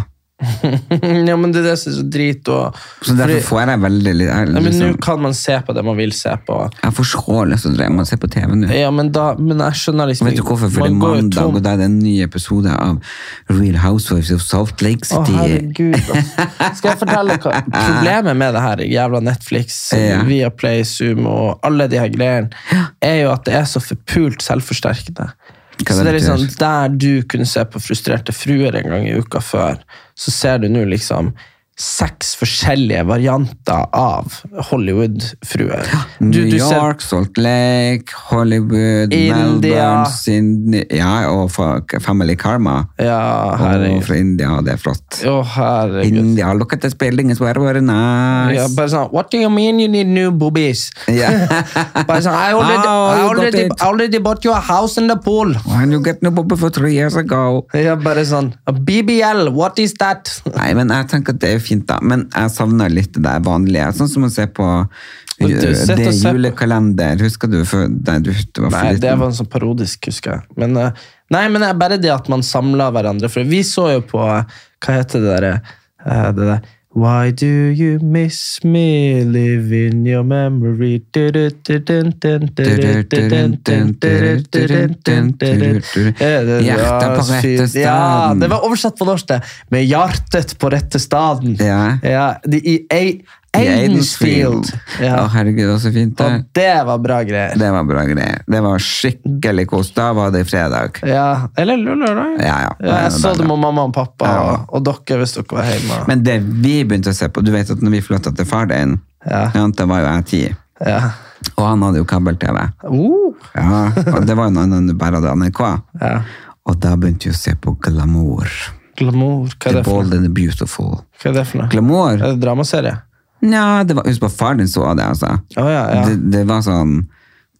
Speaker 2: ja, men det er det som er så drit og
Speaker 1: Så derfor
Speaker 2: Fordi-
Speaker 1: får jeg veldig litt jeg,
Speaker 2: ja, men Nå
Speaker 1: liksom,
Speaker 2: kan man se på det man vil se på.
Speaker 1: jeg får så lyst til å dreie meg og se på TV nå.
Speaker 2: Ja, men, da, men jeg skjønner liksom
Speaker 1: Vet du hvorfor? For det
Speaker 2: man
Speaker 1: er
Speaker 2: går jo
Speaker 1: mandag,
Speaker 2: tom.
Speaker 1: og da er det en ny episode av Real Housewives of Salt Lake
Speaker 2: Å,
Speaker 1: City.
Speaker 2: herregud. ass. Skal jeg fortelle hva problemet med det her jævla Netflix, eh,
Speaker 1: Ja.
Speaker 2: Viaplay, Sumo og alle de her greiene, er jo at det er så forpult selvforsterkende.
Speaker 1: Hva
Speaker 2: Så
Speaker 1: det
Speaker 2: det er liksom
Speaker 1: betyr?
Speaker 2: Der du kunne se på Frustrerte fruer en gang i uka før, så ser du nå liksom seks forskjellige varianter av Hollywood-fruer. Du-
Speaker 1: New
Speaker 2: du ser-
Speaker 1: York, Salt Lake, Hollywood,
Speaker 2: India.
Speaker 1: Melbourne, Sydney Ja, og fuck, Family Karma.
Speaker 2: Ja,
Speaker 1: Og
Speaker 2: herregud.
Speaker 1: fra India, det er flott.
Speaker 2: Å, herregud.
Speaker 1: India, look at this building, it's very, very nice.
Speaker 2: Ja, bare sånn What do you mean you need new boobies?
Speaker 1: Yeah.
Speaker 2: Bare sånn, I already,
Speaker 1: Ah,
Speaker 2: I
Speaker 1: you got
Speaker 2: already,
Speaker 1: it.
Speaker 2: I already bought you a house in the pool.
Speaker 1: When you get no bobby for three years ago.
Speaker 2: Ja, bare sånn, BBL, what is that?
Speaker 1: Nei, men jeg tenker at det er fint da, men jeg savner litt det der vanlige. Sånn som å se på eh,
Speaker 2: Men du, sett
Speaker 1: det
Speaker 2: og se på-
Speaker 1: julekalender. Husker du før nei, du, du var for
Speaker 2: Nei,
Speaker 1: liten.
Speaker 2: det var en sånn parodisk, husker jeg. Men, eh, nei, men det er bare det at man samler hverandre. For vi så jo på, eh, hva heter det der, eh, det der, Why do you miss me, live in your memory?
Speaker 1: Hjertet
Speaker 2: Hjertet
Speaker 1: på rette staden.
Speaker 2: Ja, det var oversatt på norsk det. Med hjertet på rette staden.
Speaker 1: Ja.
Speaker 2: Ja, de, I Ei-
Speaker 1: I Aidensfield.
Speaker 2: Aidensfield.
Speaker 1: Å,
Speaker 2: Ja.
Speaker 1: herregud, det var så fint det.
Speaker 2: Og det var bra greier.
Speaker 1: Det var bra greier. Det var skikkelig kos. Da var det fredag.
Speaker 2: Ja, eller lø- lørdag.
Speaker 1: Ja, ja.
Speaker 2: jeg så det med mamma og pappa
Speaker 1: Ja.
Speaker 2: og, og dere hvis dere var hjemme.
Speaker 1: Men det vi begynte å se på, du vet at når vi flyttet til far din,
Speaker 2: Ja.
Speaker 1: sant, da var jo jeg ti.
Speaker 2: ja.
Speaker 1: Og han hadde jo kabel-TV.
Speaker 2: Uh,
Speaker 1: Ja, og det var jo noe annet enn du bare hadde NRK.
Speaker 2: ja.
Speaker 1: Og da begynte vi å se på Glamour.
Speaker 2: Glamour, hva er
Speaker 1: The
Speaker 2: det for noe?
Speaker 1: Bold and the Beautiful.
Speaker 2: Hva er det for noe?
Speaker 1: Glamour?
Speaker 2: Er det dramaserie?
Speaker 1: Nja, det var, husk på faren din så det, altså.
Speaker 2: Å ja, ja.
Speaker 1: Det, det var sånn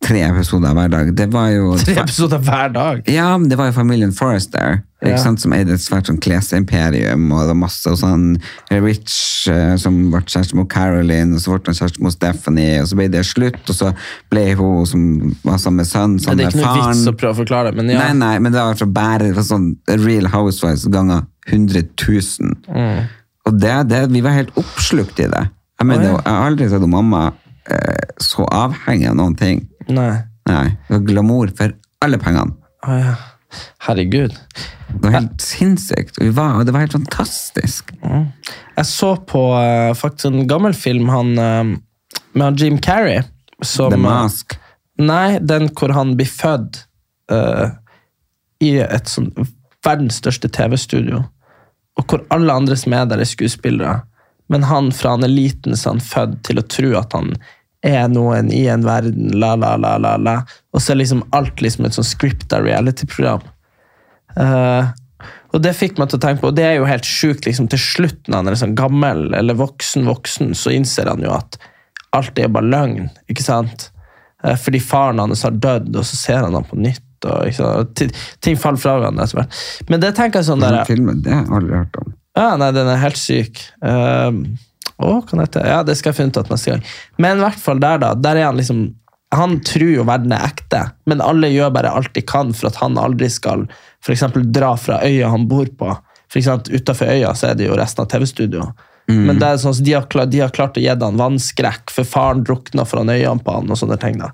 Speaker 1: tre episoder hver dag. Det var jo...
Speaker 2: Tre episoder hver dag.
Speaker 1: Ja, men det var jo familien Forrester,
Speaker 2: Ja.
Speaker 1: ikke sant, som eide et svært sånn klesimperium, og det var masse og sånn Rich eh, som ble kjæreste med Caroline, og så ble han kjæreste med Stephanie, og så ble det slutt, og så ble hun som var sammen med sønnen, sammen
Speaker 2: det
Speaker 1: med
Speaker 2: er ikke noe
Speaker 1: faren.
Speaker 2: vits å prøve å forklare det, men ja.
Speaker 1: Nei, nei, men det var for bare det var sånn Real Housewives ganger 100 000.
Speaker 2: Mm.
Speaker 1: Og det, det, vi var helt oppslukt i det. Jeg mener,
Speaker 2: Å, ja.
Speaker 1: jeg har aldri sett om mamma eh, så avhengig av noen ting.
Speaker 2: Nei.
Speaker 1: Nei, det var glamour for alle pengene.
Speaker 2: Å ja. Herregud.
Speaker 1: Det var helt sinnssykt. Og, vi var, og det var helt fantastisk.
Speaker 2: Jeg så på eh, faktisk en gammel film han, eh, med han Jim Carrey. Som, eh,
Speaker 1: The Mask.
Speaker 2: Nei, den hvor han blir født eh, i et sånn verdens største TV-studio. Og hvor alle andre som er der, er skuespillere. Men han fra han er liten, så er han født til å tro at han er noen i en verden, la, la, la, la, la. Og så er liksom alt liksom et sånn scripta reality-program. Eh, og det fikk meg til å tenke på, og det er jo helt sjukt, liksom, til slutt når han er sånn gammel eller voksen, voksen, så innser han jo at alt er bare løgn, ikke sant? Eh, Fordi faren hans har dødd, og så ser han ham på nytt, og ikke sant? Ti- ting faller fra hverandre etter hvert. Men det tenker jeg sånn der,
Speaker 1: Den filmen, det har jeg aldri hørt om.
Speaker 2: ja, Ah, nei, den er helt syk. Um, å, hva den heter? Ja, det skal jeg finne ut av neste gang. Men i hvert fall der, da. Der er han liksom Han tror jo verden er ekte, men alle gjør bare alt de kan for at han aldri skal for eksempel, dra fra øya han bor på. For eksempel, utenfor øya så er det jo resten av TV-studioet.
Speaker 1: Mm.
Speaker 2: Men det er sånn, at de, har klart, de har klart å gi han vannskrekk, for faren drukna foran øynene på han. og sånne ting da.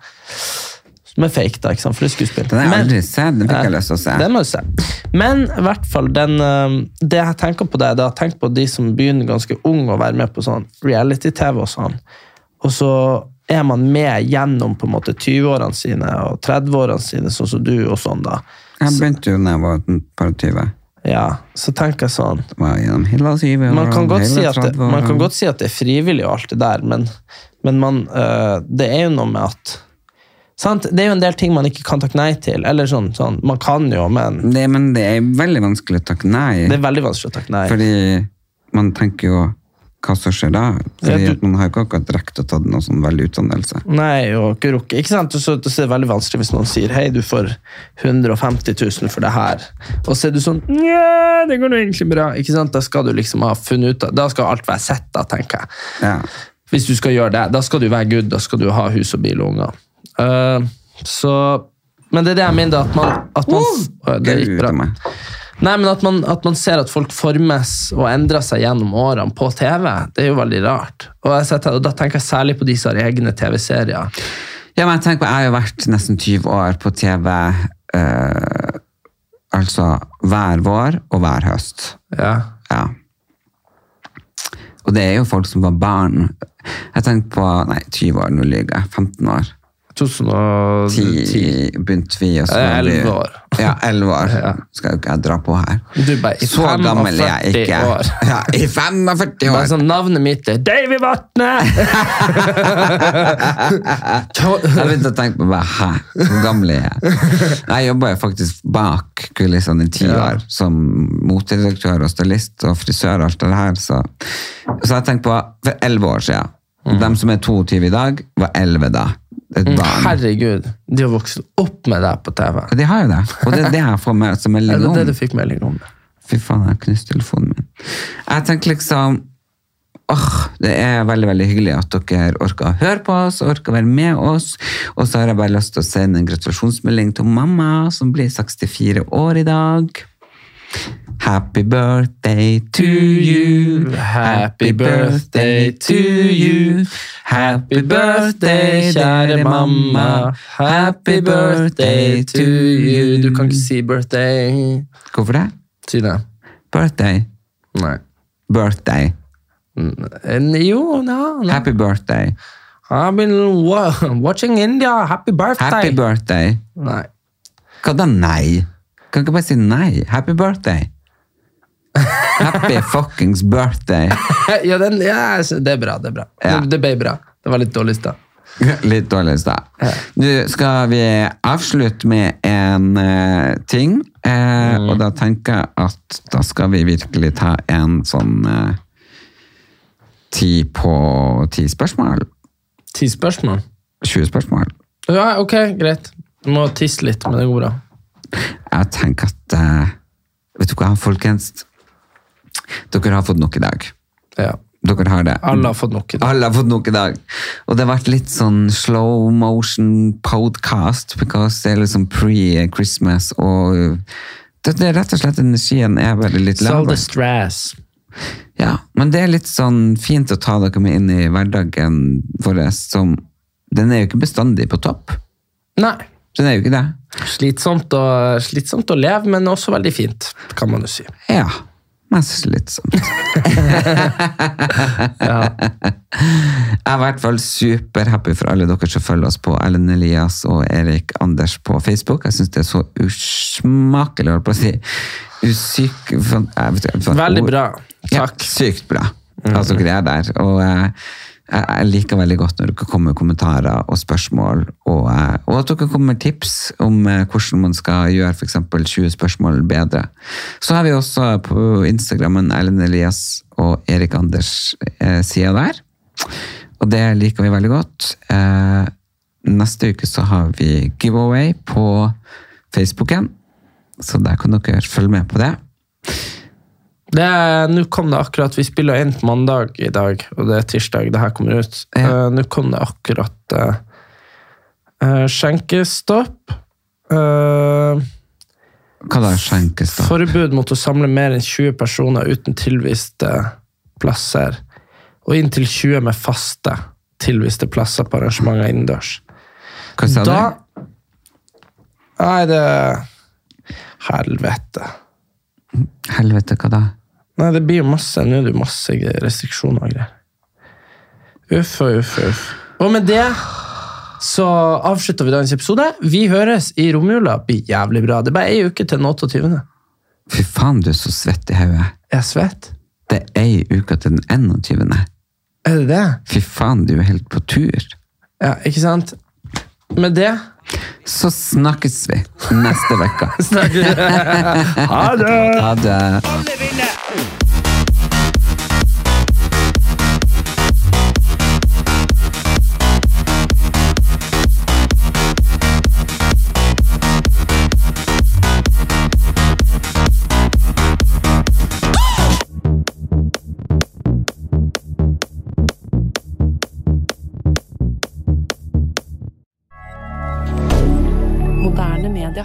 Speaker 2: Som er fake, da. ikke sant? For det er skuespill.
Speaker 1: Den har jeg
Speaker 2: Men-
Speaker 1: aldri sett. Den fikk jeg
Speaker 2: Nei,
Speaker 1: lyst til å se.
Speaker 2: Den må du se. Men i hvert fall, den, øhm, det jeg tenker på det, det er at tenk på de som begynner ganske ung å være med på sånn reality-TV og sånn. Og så er man med gjennom på en måte 20-årene sine og 30-årene sine, sånn som du og sånn da.
Speaker 1: Jeg begynte jo da jeg var et par og tyve.
Speaker 2: Ja, så tenker jeg sånn.
Speaker 1: Var gjennom hele syve
Speaker 2: Man kan,
Speaker 1: årene,
Speaker 2: godt si
Speaker 1: hele
Speaker 2: at det,
Speaker 1: 30
Speaker 2: man kan
Speaker 1: årene.
Speaker 2: godt si at det er frivillig og alt det der, men, men man, øh, det er jo noe med at sant? Det er jo en del ting man ikke kan takke nei til. Eller sånn, sånn. Man kan jo, men
Speaker 1: det, Men det er veldig vanskelig å takke nei.
Speaker 2: det er veldig vanskelig å takke nei.
Speaker 1: Fordi man tenker jo hva som skjer da. Fordi
Speaker 2: Ja, du-
Speaker 1: at Man har jo ikke akkurat rekt å ta noe sånn veldig utdannelse.
Speaker 2: Nei, og ikke rukk. Ikke sant? Så, så er det veldig vanskelig hvis noen sier hei, du får 150 000 for det her. Og så er du sånn Nja, det går nå egentlig bra. Ikke sant? Da skal du liksom ha funnet ut av Da skal alt være sett, da, tenker jeg.
Speaker 1: Ja.
Speaker 2: Hvis du skal gjøre det, da skal du være good. Da skal du ha hus og bil og unger. Eh, så Men det er det jeg mener, at man, at man Oi, Det gikk
Speaker 1: Gud,
Speaker 2: bra.
Speaker 1: meg.
Speaker 2: Nei, men at man, at man ser at folk formes og endrer seg gjennom årene på TV, det er jo veldig rart. Og, jeg setter, og da tenker jeg særlig på de som har egne TV-serier.
Speaker 1: Ja, men jeg tenker på, jeg har jo vært nesten 20 år på TV, eh, altså hver vår og hver høst.
Speaker 2: Ja.
Speaker 1: Ja. Og det er jo folk som var barn. Jeg tenkte på, nei, 20 år, nå lyger jeg, 15 år.
Speaker 2: 2010.
Speaker 1: 10 begynte vi, og så
Speaker 2: Eh,
Speaker 1: var vi-
Speaker 2: 11 år.
Speaker 1: Ja, 11 år.
Speaker 2: Ja.
Speaker 1: Skal jo ikke jeg dra på her.
Speaker 2: Du bare, i
Speaker 1: så gammel er jeg
Speaker 2: 45
Speaker 1: ikke.
Speaker 2: år.
Speaker 1: Ja, I 45 år.
Speaker 2: Bare sånn, navnet mitt er David Vatne!
Speaker 1: Jeg begynte å tenke på meg, hæ, hvor gammel er jeg? Jeg jobba jo faktisk bak kulissene i ti år, som moteredaktør og stylist og frisør og alt det her. Så, så jeg tenkte på, for elleve år siden,
Speaker 2: Mm.
Speaker 1: de som er 22 i dag, var elleve da. Et barn.
Speaker 2: Herregud, de har vokst opp med deg på TV.
Speaker 1: Og de har jo det, og det er det jeg får med som
Speaker 2: Er
Speaker 1: melding
Speaker 2: det det
Speaker 1: om.
Speaker 2: du fikk melding om?
Speaker 1: Fy faen, jeg knuste telefonen min. Jeg tenker liksom Åh, det er veldig veldig hyggelig at dere orker å høre på oss, orker å være med oss. Og så har jeg bare lyst til å sende en gratulasjonsmelding til mamma, som blir 64 år i dag. Happy birthday to you.
Speaker 2: Happy birthday to you.
Speaker 1: Happy birthday, kjære mamma. Happy birthday to you.
Speaker 2: Du kan ikke si birthday.
Speaker 1: Hvorfor det?
Speaker 2: Si det.
Speaker 1: Birthday.
Speaker 2: Nei.
Speaker 1: Birthday.
Speaker 2: En, Mm, jo, no, no.
Speaker 1: Happy birthday.
Speaker 2: I've been wa watching India. Happy birthday.
Speaker 1: Happy birthday.
Speaker 2: Nei.
Speaker 1: Hva da nei? Kan ikke bare si nei? Happy birthday. Happy fuckings birthday.
Speaker 2: ja, den, ja, jeg sy- det er bra, det er bra.
Speaker 1: Ja.
Speaker 2: Det, det ble bra. Det var litt dårlig i sted.
Speaker 1: Litt dårlig i stad. Nå skal vi avslutte med en eh, ting. eh, Og da tenker jeg at da skal vi virkelig ta en sånn eh, ti på ti spørsmål.
Speaker 2: Ti spørsmål.
Speaker 1: 20 spørsmål.
Speaker 2: Ja, ok, greit. Jeg må tisse litt, men det går bra.
Speaker 1: Jeg tenker at eh, Vet du hva, folkens? Dere har fått nok i dag.
Speaker 2: Ja.
Speaker 1: Dere har det.
Speaker 2: Alle har fått nok i dag.
Speaker 1: Alle har fått nok i dag. Og det har vært litt sånn slow motion podcast, because det er liksom pre-Christmas, og eh, det, det er rett og slett energien er bare litt
Speaker 2: Sell the
Speaker 1: lav.
Speaker 2: stress.
Speaker 1: Ja, men det er litt sånn fint å ta dere med inn i hverdagen vår, som den er jo ikke bestandig på topp.
Speaker 2: Nei.
Speaker 1: Den er jo ikke det.
Speaker 2: Slitsomt, og, slitsomt å leve, men også veldig fint, kan man jo si.
Speaker 1: Ja, mest slitsomt. Jeg er i hvert fall superhappy for alle dere som følger oss på Ellen Elias og Erik Anders på Facebook. Jeg syns det er så usmakelig, holdt på å si. Usyk... fan- jeg vet ikke, fan-
Speaker 2: Veldig bra.
Speaker 1: Ja,
Speaker 2: Takk. Mm.
Speaker 1: sykt bra at dere er der. Og eh, jeg, jeg liker veldig godt når dere kommer med kommentarer og spørsmål, og, eh, og at dere kommer med tips om eh, hvordan man skal gjøre f.eks. 20 spørsmål bedre. Så har vi også på Instagrammen Ellen Elias og Erik Anders eh, sida der. Og det liker vi veldig godt. Eh, neste uke så har vi giveaway på Facebooken, så der kan dere følge med på det.
Speaker 2: Det er- Nå kom det akkurat Vi spiller inn på mandag i dag, og det er tirsdag det her kommer ut.
Speaker 1: Ja.
Speaker 2: Eh, Nå kom det akkurat eh, eh, skjenkestopp. eh,
Speaker 1: Hva da, skjenkes da?
Speaker 2: forbud mot å samle mer enn 20 personer uten tilviste plasser. Og inntil 20 med faste tilviste plasser på arrangementer innendørs.
Speaker 1: Hva sa
Speaker 2: Da
Speaker 1: du?
Speaker 2: Nei, det Helvete.
Speaker 1: Helvete, hva da?
Speaker 2: Nei, det blir jo masse, nå er det jo masse restriksjoner og greier. Uff og uff og uff. Og med det så avslutter vi dagens episode. Vi høres i romjula. Det blir jævlig bra. Det er bare ei uke til den 28.
Speaker 1: Fy faen, du er så svett i hodet.
Speaker 2: Jeg er svett.
Speaker 1: Det er ei uke til den 21.
Speaker 2: Er det det?
Speaker 1: Fy faen, du er helt på tur.
Speaker 2: Ja, ikke sant? Med det
Speaker 1: Så snakkes vi neste uke.
Speaker 2: snakker vi.
Speaker 1: Ha det!
Speaker 3: Moderne media.